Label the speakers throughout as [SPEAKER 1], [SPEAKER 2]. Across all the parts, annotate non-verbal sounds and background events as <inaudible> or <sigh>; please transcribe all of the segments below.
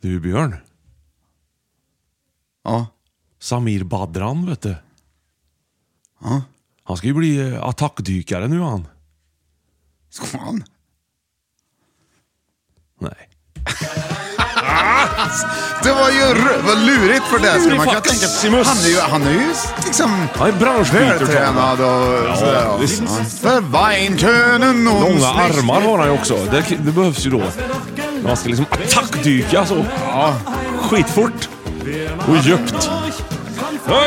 [SPEAKER 1] Du Björn,
[SPEAKER 2] Ja,
[SPEAKER 1] Samir Badran vet du.
[SPEAKER 2] Ja.
[SPEAKER 1] Han ska ju bli eh, attackdykare nu han.
[SPEAKER 2] ska han?
[SPEAKER 1] Nej.
[SPEAKER 2] Alltså, Det var ju r- vad lurigt för det skulle man kunna tänka.
[SPEAKER 1] Lurifaximus.
[SPEAKER 2] Han är ju, han är ju liksom
[SPEAKER 1] Han är branschbyter.
[SPEAKER 2] vältränad och sådär. ja.
[SPEAKER 1] visst.
[SPEAKER 2] Ja. För Weintönen och
[SPEAKER 1] Långa armar har han ju också. Det, det behövs ju då. Men Han ska liksom attackdyka så. Ja. Skitfort. Och djupt.
[SPEAKER 2] Vad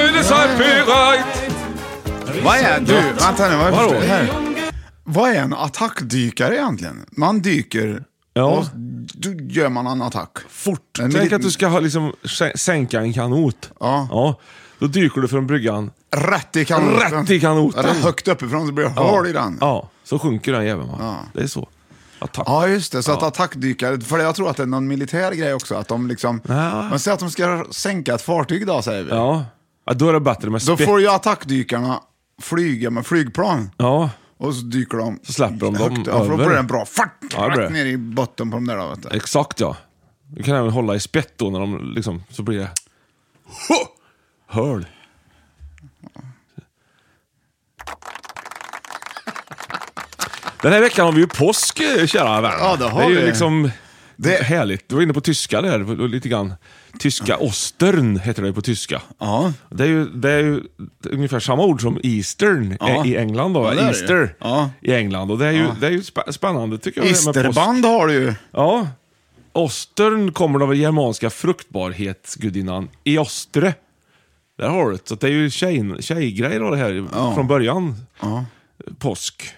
[SPEAKER 2] är du? Vänta nu, vad
[SPEAKER 1] Vadå?
[SPEAKER 2] förstår här? Vad är en attackdykare egentligen? Man dyker
[SPEAKER 1] Ja.
[SPEAKER 2] och då gör man en attack.
[SPEAKER 1] Fort.
[SPEAKER 2] En
[SPEAKER 1] Tänk
[SPEAKER 2] liten-
[SPEAKER 1] att du ska ha, liksom, sä- sänka en kanot.
[SPEAKER 2] Ja.
[SPEAKER 1] ja. Då dyker du från bryggan.
[SPEAKER 2] Rätt i kanoten.
[SPEAKER 1] Rätt i kanoten.
[SPEAKER 2] Rätt högt uppifrån så blir det hål i den.
[SPEAKER 1] Ja. Så sjunker den jäveln va?
[SPEAKER 2] Ja.
[SPEAKER 1] Det är så. Attack.
[SPEAKER 2] Ja, just det. Så att attackdykare, för jag tror att det är någon militär grej också. Att de liksom,
[SPEAKER 1] Ja.
[SPEAKER 2] man säger att de ska sänka ett fartyg idag säger vi.
[SPEAKER 1] Ja. ja. Då är det bättre med
[SPEAKER 2] Då
[SPEAKER 1] spett.
[SPEAKER 2] får ju attackdykarna flyga med flygplan.
[SPEAKER 1] Ja.
[SPEAKER 2] Och så dyker de.
[SPEAKER 1] Så släpper de dem
[SPEAKER 2] högt, ja, för då
[SPEAKER 1] över.
[SPEAKER 2] blir det en bra fart
[SPEAKER 1] Ja, det blir det.
[SPEAKER 2] rätt ner i botten på de där. Då, vet du.
[SPEAKER 1] Exakt ja. Du kan även hålla i spett då när de liksom, så blir det... Ho! Hörl. Den här veckan har vi ju påsk, eh, kära vänner.
[SPEAKER 2] Ja, det har
[SPEAKER 1] är ju
[SPEAKER 2] vi.
[SPEAKER 1] liksom
[SPEAKER 2] Det-
[SPEAKER 1] härligt. Du var inne på tyska där, och lite grann. Tyska ostern heter det på tyska.
[SPEAKER 2] Ja.
[SPEAKER 1] Det är ju, det är ju ungefär samma ord som Eastern eh,
[SPEAKER 2] Ja.
[SPEAKER 1] i- i England. Då,
[SPEAKER 2] Ja, det är det ju.
[SPEAKER 1] Easter
[SPEAKER 2] Ja.
[SPEAKER 1] i England. Och det är ju, det är ju spä- spännande tycker jag. det här med påsk.
[SPEAKER 2] Isterband har du ju.
[SPEAKER 1] Ja. Ostern kommer av den germanska fruktbarhetsgudinnan Eostre. Där har du det. Så det är ju tjej, tjejgrej då det här från början. Påsk.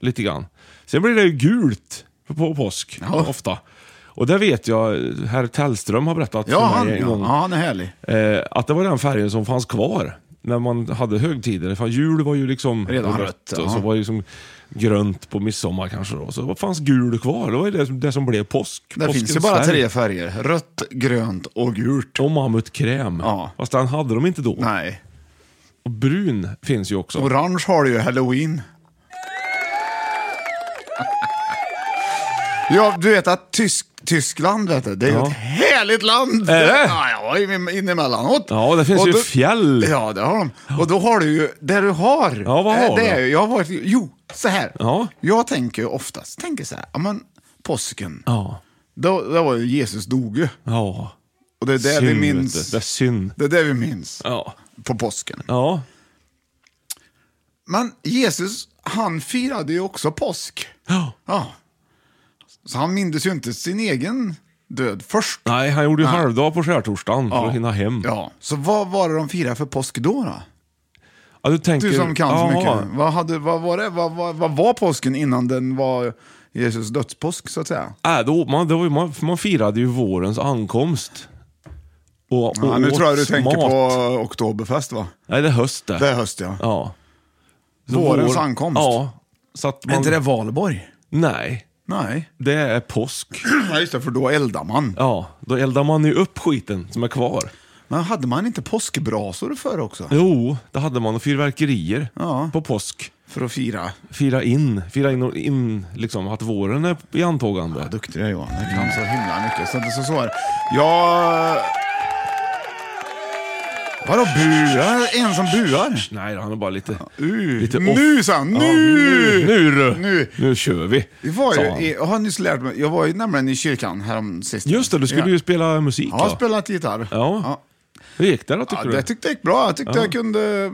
[SPEAKER 1] Lite grann. Sen blir det ju gult på påsk ofta. Och det vet jag, herr Tellström har berättat
[SPEAKER 2] Ja,
[SPEAKER 1] för
[SPEAKER 2] han,
[SPEAKER 1] mig en
[SPEAKER 2] ja.
[SPEAKER 1] gång.
[SPEAKER 2] ja, han är härlig.
[SPEAKER 1] Eh, att det var den färgen som fanns kvar när man hade högtider. För jul var ju liksom
[SPEAKER 2] Redan
[SPEAKER 1] rött
[SPEAKER 2] rött,
[SPEAKER 1] och så
[SPEAKER 2] ja.
[SPEAKER 1] var det liksom grönt på midsommar kanske. Då. Så vad fanns gul kvar? Det var ju det som, det som blev påsk.
[SPEAKER 2] Det
[SPEAKER 1] Påskens
[SPEAKER 2] finns ju bara
[SPEAKER 1] färg.
[SPEAKER 2] tre färger. Rött, grönt och gult.
[SPEAKER 1] Och mammutkräm.
[SPEAKER 2] Ja.
[SPEAKER 1] Fast den hade de inte då.
[SPEAKER 2] Nej.
[SPEAKER 1] Och brun finns ju också.
[SPEAKER 2] Orange har du ju halloween. Ja, du vet att Tysk, Tyskland, vet du, det är ju
[SPEAKER 1] Ja.
[SPEAKER 2] ett härligt land.
[SPEAKER 1] Är det?
[SPEAKER 2] Ja, jag var ju inne emellanåt.
[SPEAKER 1] Ja, det finns
[SPEAKER 2] Och
[SPEAKER 1] ju
[SPEAKER 2] då-
[SPEAKER 1] fjäll.
[SPEAKER 2] Ja, det har de. Och då har du ju, det du har.
[SPEAKER 1] Ja, vad
[SPEAKER 2] eh,
[SPEAKER 1] har
[SPEAKER 2] det
[SPEAKER 1] du?
[SPEAKER 2] Är, ju- jag har varit, jo, så här.
[SPEAKER 1] Ja.
[SPEAKER 2] Jag tänker ju oftast, tänker så här, ja men påsken,
[SPEAKER 1] Ja.
[SPEAKER 2] då, då var ju Jesus dog ju.
[SPEAKER 1] Ja.
[SPEAKER 2] Och det är det
[SPEAKER 1] Synd,
[SPEAKER 2] vi
[SPEAKER 1] vet du.
[SPEAKER 2] minns.
[SPEAKER 1] Det är synd.
[SPEAKER 2] Det är det vi minns
[SPEAKER 1] Ja.
[SPEAKER 2] på påsken.
[SPEAKER 1] Ja.
[SPEAKER 2] Men Jesus, han firade ju också påsk.
[SPEAKER 1] Ja.
[SPEAKER 2] Ja. Så han mindes ju inte sin egen död först.
[SPEAKER 1] Nej, han gjorde ju halvdag på skärtorsdagen för att hinna hem.
[SPEAKER 2] Ja. Så vad var det de firade för påsk då? då?
[SPEAKER 1] Ja, du, tänker,
[SPEAKER 2] Du som kan så
[SPEAKER 1] Ja.
[SPEAKER 2] mycket. Vad, hade, vad, var det, vad, vad, vad var påsken innan den var Jesus dödspåsk så att säga?
[SPEAKER 1] Äh, då, man, det var ju, man, man firade ju vårens ankomst. Och, och
[SPEAKER 2] Ja, nu tror jag du
[SPEAKER 1] åt
[SPEAKER 2] tänker
[SPEAKER 1] mat.
[SPEAKER 2] på Oktoberfest va?
[SPEAKER 1] Nej, det är höst det.
[SPEAKER 2] Det är höst ja.
[SPEAKER 1] Ja.
[SPEAKER 2] Vårens ankomst.
[SPEAKER 1] Ja. Så att man...
[SPEAKER 2] Valborg?
[SPEAKER 1] Nej.
[SPEAKER 2] Nej. <clears throat>
[SPEAKER 1] Det är påsk.
[SPEAKER 2] Ja, just det, för då eldar man.
[SPEAKER 1] Ja, då eldar man ju upp skiten som är kvar.
[SPEAKER 2] Men hade man inte påskbrasor förr också?
[SPEAKER 1] Jo, det hade man och fyrverkerier
[SPEAKER 2] Ja.
[SPEAKER 1] på påsk.
[SPEAKER 2] För att fira.
[SPEAKER 1] Fira in, fira in, och in liksom att våren är i antågande.
[SPEAKER 2] Vad duktig du är Johan. Du kan så himla mycket. Så, så, så är det. Jag... Vadå buar? En som buar?
[SPEAKER 1] Nej, då, han är bara lite...
[SPEAKER 2] Uh,
[SPEAKER 1] Lite
[SPEAKER 2] nu sa han, nu!
[SPEAKER 1] Ja, nu, nu,
[SPEAKER 2] Nu.
[SPEAKER 1] nu, nu kör vi!
[SPEAKER 2] Vi var
[SPEAKER 1] sa han.
[SPEAKER 2] ju, jag har nyss lärt mig, jag var ju nämligen i kyrkan härom sist.
[SPEAKER 1] Just det, du skulle
[SPEAKER 2] ja.
[SPEAKER 1] ju spela musik.
[SPEAKER 2] Jag har
[SPEAKER 1] va?
[SPEAKER 2] spelat gitarr.
[SPEAKER 1] Ja. Hur gick det då tycker
[SPEAKER 2] Ja,
[SPEAKER 1] du?
[SPEAKER 2] det tyckte jag gick bra. Jag tyckte jag kunde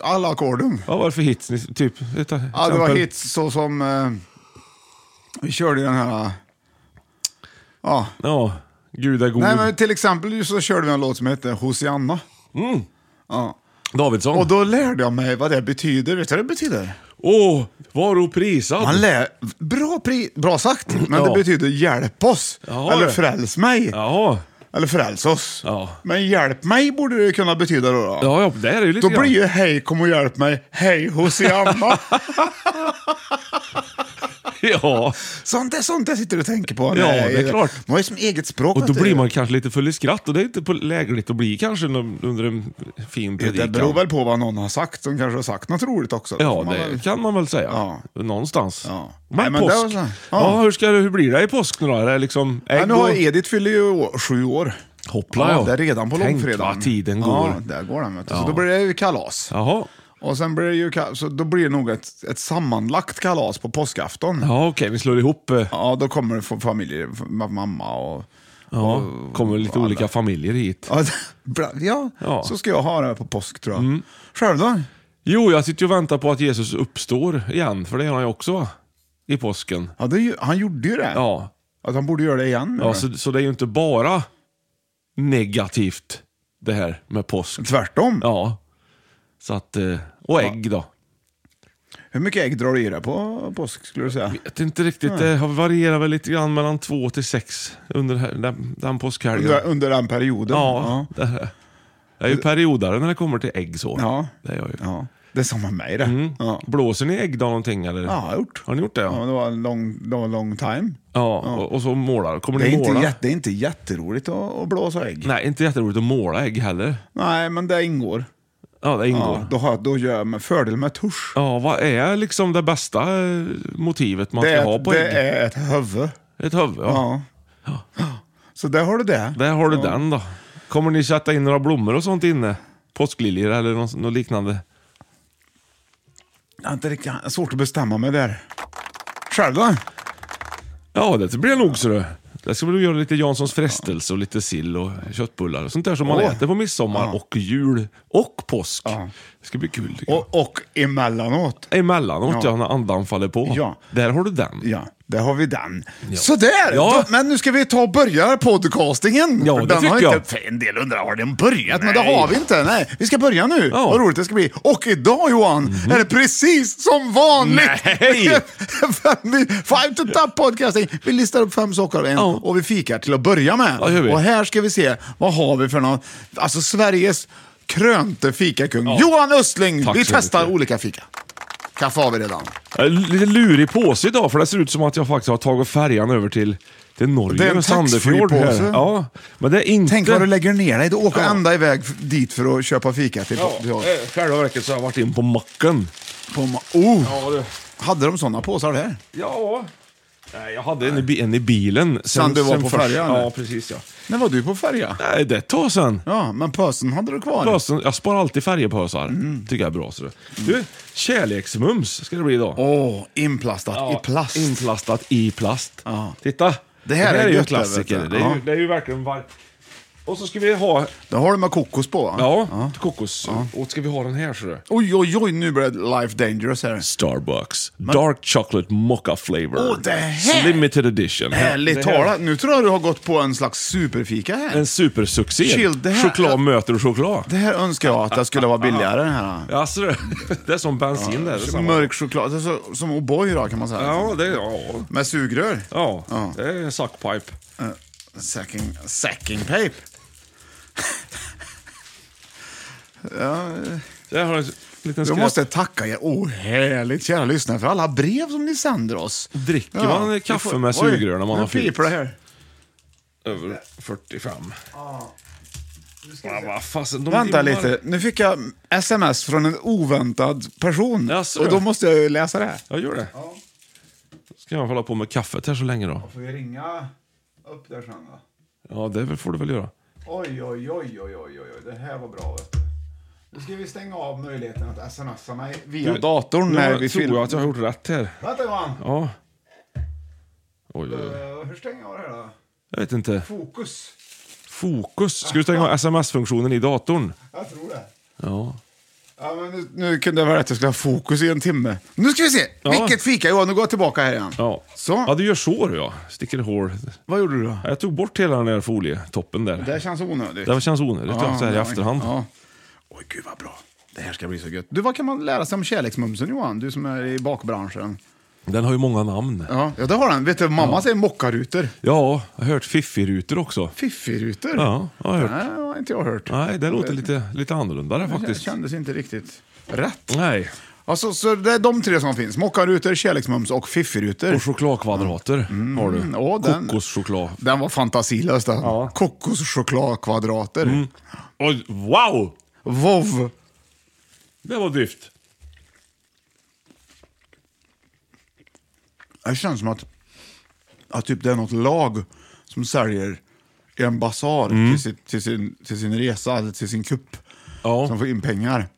[SPEAKER 2] alla ackorden.
[SPEAKER 1] Ja, vad är det för hits? Ni- Typ, ett
[SPEAKER 2] Ja, det var
[SPEAKER 1] exempel.
[SPEAKER 2] hits så som... Eh, vi körde den här... Ja.
[SPEAKER 1] Ja, Gud är god.
[SPEAKER 2] Nej, men till exempel så körde vi en låt som hette Hosianna. Ja.
[SPEAKER 1] Davidsson.
[SPEAKER 2] Och då lärde jag mig vad det betyder. Vet du vad det betyder?
[SPEAKER 1] Åh, var och prisad.
[SPEAKER 2] Man lär, bra, pri, bra sagt, men det
[SPEAKER 1] Ja.
[SPEAKER 2] betyder hjälp oss.
[SPEAKER 1] Ja,
[SPEAKER 2] eller
[SPEAKER 1] det.
[SPEAKER 2] fräls mig.
[SPEAKER 1] Ja.
[SPEAKER 2] Eller fräls oss.
[SPEAKER 1] Ja.
[SPEAKER 2] Men hjälp mig borde det ju kunna betyda då. då.
[SPEAKER 1] ja, ja, det är det ju lite
[SPEAKER 2] Då
[SPEAKER 1] grann.
[SPEAKER 2] blir ju hej kom och hjälp mig,
[SPEAKER 1] <laughs>
[SPEAKER 2] hej Hosianna.
[SPEAKER 1] Ja,
[SPEAKER 2] sånt är sånt jag sitter och tänker på.
[SPEAKER 1] Ja,
[SPEAKER 2] Nej,
[SPEAKER 1] det är klart.
[SPEAKER 2] Man har ju som eget språk.
[SPEAKER 1] och då
[SPEAKER 2] vet du.
[SPEAKER 1] blir man kanske lite full i skratt och det är inte på- lägligt att bli kanske någon- under en fin
[SPEAKER 2] Det
[SPEAKER 1] predikan.
[SPEAKER 2] beror väl på vad någon har sagt. De kanske har sagt något roligt också.
[SPEAKER 1] Ja,
[SPEAKER 2] Får man
[SPEAKER 1] det
[SPEAKER 2] väl-
[SPEAKER 1] kan man väl säga.
[SPEAKER 2] Ja.
[SPEAKER 1] Någonstans.
[SPEAKER 2] Ja.
[SPEAKER 1] Men
[SPEAKER 2] Nej, men det
[SPEAKER 1] påsk.
[SPEAKER 2] var så-
[SPEAKER 1] ja.
[SPEAKER 2] ja.
[SPEAKER 1] hur, ska, det- hur blir det i påsk nu då? Är det liksom ägg
[SPEAKER 2] Ja, nu
[SPEAKER 1] och...
[SPEAKER 2] har Edith fyller ju å- sju år.
[SPEAKER 1] Hoppla, ja.
[SPEAKER 2] Det är redan på
[SPEAKER 1] Tänk
[SPEAKER 2] långfredagen.
[SPEAKER 1] vad tiden går.
[SPEAKER 2] Ja, där går den. Vet du. Så
[SPEAKER 1] Ja.
[SPEAKER 2] då blir det ju kalas.
[SPEAKER 1] Jaha.
[SPEAKER 2] Och sen blir det ju ka- så då blir det nog ett, ett sammanlagt kalas på påskafton.
[SPEAKER 1] Ja, okej, vi slår ihop. eh,
[SPEAKER 2] Ja, då kommer det få familjer, f- ma- mamma och...
[SPEAKER 1] Ja, kommer lite
[SPEAKER 2] alla.
[SPEAKER 1] olika familjer hit.
[SPEAKER 2] Ja, bra- ja,
[SPEAKER 1] Ja. Mm.
[SPEAKER 2] så ska jag ha det här på påsk tror jag. Själv då?
[SPEAKER 1] Jo, jag sitter ju och väntar på att Jesus uppstår igen, för det gör han ju också va? i påsken.
[SPEAKER 2] Ja, det, är ju- han gjorde ju det.
[SPEAKER 1] Ja,
[SPEAKER 2] Att han borde göra det igen. menar
[SPEAKER 1] ja
[SPEAKER 2] du?
[SPEAKER 1] så, så det är ju inte bara negativt det här med påsk.
[SPEAKER 2] Tvärtom.
[SPEAKER 1] Ja, så att, eh, och ägg då.
[SPEAKER 2] Hur mycket ägg drar du i dig på påsk skulle du säga?
[SPEAKER 1] vet inte riktigt, det har varierar väl lite grann mellan två till sex under här- den, den påskhelgen.
[SPEAKER 2] Under, under den perioden?
[SPEAKER 1] Ja, det är Jag är ju periodare när det kommer till ägg så.
[SPEAKER 2] Ja.
[SPEAKER 1] Det är jag ju.
[SPEAKER 2] Ja. Det är som med mig det. Ja.
[SPEAKER 1] Blåser ni ägg då någonting eller?
[SPEAKER 2] Ja, jag har gjort.
[SPEAKER 1] Mm. Har ni gjort det?
[SPEAKER 2] Ja,
[SPEAKER 1] Ja,
[SPEAKER 2] det var en lång, lång, lång time.
[SPEAKER 1] ja. Och, och så målar. Kommer
[SPEAKER 2] Det är,
[SPEAKER 1] ni måla?
[SPEAKER 2] inte jätte, det är inte jätteroligt att, att blåsa ägg.
[SPEAKER 1] Nej, inte jätteroligt att måla ägg heller.
[SPEAKER 2] Nej, men det ingår.
[SPEAKER 1] Ja, det ingår.
[SPEAKER 2] Ja,
[SPEAKER 1] Ja,
[SPEAKER 2] då, har, då gör jag med fördel med tusch.
[SPEAKER 1] vad är liksom det bästa eh, motivet man
[SPEAKER 2] det
[SPEAKER 1] ska
[SPEAKER 2] är,
[SPEAKER 1] ha
[SPEAKER 2] ett-
[SPEAKER 1] på
[SPEAKER 2] det
[SPEAKER 1] ägg?
[SPEAKER 2] är ett huvud.
[SPEAKER 1] Ett huvud, ja.
[SPEAKER 2] Ja. Så där har du det.
[SPEAKER 1] Där har du den då. Kommer ni sätta in några blommor och sånt inne? Påskliljor eller något, något liknande?
[SPEAKER 2] Jag har inte riktigt, jag har svårt att bestämma mig där. Själv då?
[SPEAKER 1] Ja, det blir nog så det. Där ska vi göra lite Janssons frestelse och lite sill och köttbullar och sånt där som man
[SPEAKER 2] Åh.
[SPEAKER 1] äter på midsommar och jul och påsk.
[SPEAKER 2] Ja.
[SPEAKER 1] Det ska bli kul tycker jag.
[SPEAKER 2] Och, och emellanåt.
[SPEAKER 1] Emellanåt
[SPEAKER 2] Ja.
[SPEAKER 1] ja. när andan faller på.
[SPEAKER 2] Ja.
[SPEAKER 1] Där har du den.
[SPEAKER 2] Ja, där har vi den. Sådär!
[SPEAKER 1] Ja.
[SPEAKER 2] Då, men nu ska vi ta och börja podcastingen.
[SPEAKER 1] Ja,
[SPEAKER 2] För
[SPEAKER 1] det
[SPEAKER 2] den har
[SPEAKER 1] tycker
[SPEAKER 2] Inte, en del undrar, har den börjat? Men det har vi inte. Nej, vi ska börja nu.
[SPEAKER 1] Ja. Mhm.
[SPEAKER 2] Vad roligt det ska bli. Och idag Johan, är det precis som vanligt. <laughs>
[SPEAKER 1] Nej.
[SPEAKER 2] Fem- five to top podcasting. Vi listar upp fem saker av en
[SPEAKER 1] Ja.
[SPEAKER 2] och vi fikar till att börja med.
[SPEAKER 1] Ja, det gör vi.
[SPEAKER 2] och här ska vi se, vad har vi för något? Alltså Sveriges krönte fikakung, Johan Östling.
[SPEAKER 1] Tack
[SPEAKER 2] vi
[SPEAKER 1] så
[SPEAKER 2] testar
[SPEAKER 1] mycket.
[SPEAKER 2] olika fika. Kaffe har vi redan.
[SPEAKER 1] Jag är lite lurig påse idag för det ser ut som att jag faktiskt har tagit färjan över till, till Norge.
[SPEAKER 2] Det är en
[SPEAKER 1] med Sandefjord
[SPEAKER 2] taxfree-påse.
[SPEAKER 1] här. Ja, men det är inte...
[SPEAKER 2] Tänk vad du lägger ner dig. Du åker
[SPEAKER 1] Ja.
[SPEAKER 2] ända iväg f- dit för att köpa fika till,
[SPEAKER 1] Ja,
[SPEAKER 2] till oss.
[SPEAKER 1] eh, själva verket så har jag varit in på macken.
[SPEAKER 2] På ma- oh.
[SPEAKER 1] Ja, du.
[SPEAKER 2] Hade de sådana påsar där?
[SPEAKER 1] Ja. Nej, jag hade en i, bi- en i bilen. Sen,
[SPEAKER 2] du var på
[SPEAKER 1] först-
[SPEAKER 2] färjan, eller?
[SPEAKER 1] Ja, precis ja.
[SPEAKER 2] När var du på färja?
[SPEAKER 1] Nej, det är ett tag sen.
[SPEAKER 2] Ja, men påsen hade du kvar.
[SPEAKER 1] Påsen, jag sparar alltid färgpåsar.
[SPEAKER 2] Mm.
[SPEAKER 1] Tycker jag är bra. Så det. Du, kärleksmums ska det bli idag.
[SPEAKER 2] Åh, inplastat
[SPEAKER 1] Ja,
[SPEAKER 2] i plast.
[SPEAKER 1] Inplastat i plast.
[SPEAKER 2] Ja.
[SPEAKER 1] Titta!
[SPEAKER 2] Det här är
[SPEAKER 1] är ju en
[SPEAKER 2] gött,
[SPEAKER 1] klassiker.
[SPEAKER 2] vet du.
[SPEAKER 1] Det är,
[SPEAKER 2] Ja.
[SPEAKER 1] ju, det är ju verkligen var... Och så ska vi ha...
[SPEAKER 2] Då har du med kokos på va?
[SPEAKER 1] Ja, kokos. Och ska vi ha den här så du.
[SPEAKER 2] Oj, oj, oj, nu blir det life dangerous här.
[SPEAKER 1] Starbucks. Dark chocolate mocha flavor.
[SPEAKER 2] Åh, det här-
[SPEAKER 1] Limited edition.
[SPEAKER 2] Härligt
[SPEAKER 1] Det här-
[SPEAKER 2] talat. Nu tror jag du har gått på en slags superfika här.
[SPEAKER 1] En supersuccé.
[SPEAKER 2] Chill, det här-
[SPEAKER 1] Choklad möter choklad.
[SPEAKER 2] Det här önskar jag att det skulle vara billigare den här.
[SPEAKER 1] Ja, Alltså, det- <laughs> det är som bensin det. är detsamma.
[SPEAKER 2] Mörk choklad, det är så, som O'boy då kan man säga.
[SPEAKER 1] Ja, det ja.
[SPEAKER 2] Med sugrör. Eh,
[SPEAKER 1] Ja, det är suckpipe.
[SPEAKER 2] Sacking, sacking pape.
[SPEAKER 1] Det har, liten
[SPEAKER 2] Jag
[SPEAKER 1] skräp.
[SPEAKER 2] måste tacka er ohärligt kära lyssnare för alla brev som ni sänder oss.
[SPEAKER 1] Dricker man kaffe
[SPEAKER 2] vi får-
[SPEAKER 1] med
[SPEAKER 2] Oj,
[SPEAKER 1] sugrör när man
[SPEAKER 2] nu
[SPEAKER 1] har fyllt?
[SPEAKER 2] piper det här.
[SPEAKER 1] Över 45. Ja, vad fasen, de
[SPEAKER 2] Vänta
[SPEAKER 1] dimmar.
[SPEAKER 2] lite, nu fick jag sms från en oväntad person.
[SPEAKER 1] Jaså?
[SPEAKER 2] och då måste jag ju läsa det.
[SPEAKER 1] Ja, gör det. Då Ska jag hålla på med kaffet här så länge då?
[SPEAKER 2] Får vi ringa upp där sen då?
[SPEAKER 1] Ja, det väl- får du väl göra.
[SPEAKER 2] Oj, oj, oj, oj, oj, oj, det här var bra. Nu ska vi stänga av möjligheten att smsa mig via datorn
[SPEAKER 1] nu
[SPEAKER 2] när
[SPEAKER 1] har-
[SPEAKER 2] vi
[SPEAKER 1] tror jag
[SPEAKER 2] filmar.
[SPEAKER 1] att jag har gjort rätt här.
[SPEAKER 2] Vänta Johan, Eh,
[SPEAKER 1] Ja. Oj, oj, oj.
[SPEAKER 2] hur stänger jag det här då?
[SPEAKER 1] Jag vet inte.
[SPEAKER 2] Fokus.
[SPEAKER 1] Fokus. Ska du stänga av sms-funktionen i datorn?
[SPEAKER 2] Jag tror det.
[SPEAKER 1] Ja.
[SPEAKER 2] Ja, men nu, nu kunde jag vara rätt, jag skulle ha fokus i en timme. Nu ska vi se, vilket fika Johan, nu går jag tillbaka här igen.
[SPEAKER 1] Ja.
[SPEAKER 2] Så,
[SPEAKER 1] ja, du gör så du ja. Sticker hål.
[SPEAKER 2] vad gjorde du då?
[SPEAKER 1] Ja, Jag tog bort hela den där folietoppen där.
[SPEAKER 2] Det här känns onödigt.
[SPEAKER 1] Det känns onödigt ja, så här i
[SPEAKER 2] ja,
[SPEAKER 1] efterhand.
[SPEAKER 2] Ja. Oj, gud vad bra. Det här ska bli så gött. Du, vad kan man lära sig om kärleksmumsen Johan? Du som är i bakbranschen.
[SPEAKER 1] Den har ju många namn.
[SPEAKER 2] Ja, ja det har den. Vet du, mamma säger mockarutor.
[SPEAKER 1] Ja, jag har hört fiffirutor också.
[SPEAKER 2] Fiffirutor?
[SPEAKER 1] Ja, jag har hört.
[SPEAKER 2] Nej, det har inte jag hört.
[SPEAKER 1] Nej, det låter lite, lite annorlunda där
[SPEAKER 2] Det
[SPEAKER 1] faktiskt.
[SPEAKER 2] kändes inte riktigt rätt.
[SPEAKER 1] Nej,
[SPEAKER 2] Alltså, så det är de tre som finns. Mockarutor, kärleksmums och fiffirutor.
[SPEAKER 1] och chokladkvadrater har du.
[SPEAKER 2] ja, Mm, den-
[SPEAKER 1] Kokoschoklad.
[SPEAKER 2] Den var fantasilös den.
[SPEAKER 1] Ja. Mm.
[SPEAKER 2] Kokoschokladkvadrater.
[SPEAKER 1] Oj, wow!
[SPEAKER 2] Vov.
[SPEAKER 1] Det var drift.
[SPEAKER 2] Det känns som att, att typ det är något lag som säljer i en basar
[SPEAKER 1] Mm.
[SPEAKER 2] till, sitt, till, sin, till sin resa, eller till sin kupp, som
[SPEAKER 1] Ja,
[SPEAKER 2] får in pengar.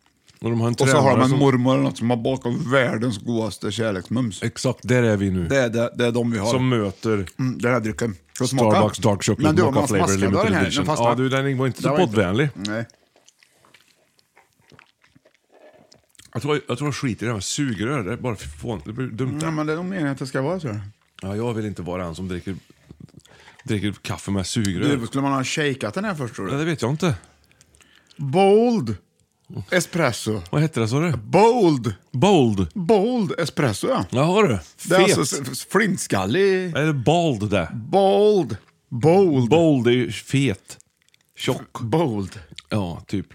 [SPEAKER 1] och de har en
[SPEAKER 2] Och så har de
[SPEAKER 1] tränare
[SPEAKER 2] en
[SPEAKER 1] som-
[SPEAKER 2] mormor eller något som har bakat världens godaste kärleksmums.
[SPEAKER 1] Exakt, där är vi nu.
[SPEAKER 2] Det är, det, det är de vi har.
[SPEAKER 1] Som möter
[SPEAKER 2] Mm, den här drycken. Ska jag smaka?
[SPEAKER 1] Starbucks Dark Chocolate
[SPEAKER 2] Men du, om
[SPEAKER 1] Mocha
[SPEAKER 2] man
[SPEAKER 1] Flavor
[SPEAKER 2] smaskar då
[SPEAKER 1] Limited
[SPEAKER 2] den här,
[SPEAKER 1] Edition.
[SPEAKER 2] den fastnar.
[SPEAKER 1] Ja, du, den var inte
[SPEAKER 2] Det
[SPEAKER 1] så
[SPEAKER 2] var inte-
[SPEAKER 1] poddvänlig.
[SPEAKER 2] Nej.
[SPEAKER 1] Jag tror jag, tror jag skiter i det här med sugrör. Det är bara fån. Det blir dumt. det.
[SPEAKER 2] Ja, Mm, men det är nog meningen att det ska vara så.
[SPEAKER 1] Ja, jag vill inte vara den som dricker, dricker kaffe med sugrör.
[SPEAKER 2] Du, skulle man ha shakat den här först tror
[SPEAKER 1] Nej,
[SPEAKER 2] du?
[SPEAKER 1] det vet jag inte.
[SPEAKER 2] Bold espresso.
[SPEAKER 1] Vad hette det sa du?
[SPEAKER 2] Bold.
[SPEAKER 1] Bold.
[SPEAKER 2] Bold espresso ja.
[SPEAKER 1] Jaha du.
[SPEAKER 2] Det är
[SPEAKER 1] Fet.
[SPEAKER 2] alltså s- flintskallig.
[SPEAKER 1] Eller bald det.
[SPEAKER 2] Bold. Bold.
[SPEAKER 1] Bold är ju fet. Tjock.
[SPEAKER 2] Bold.
[SPEAKER 1] Ja, typ.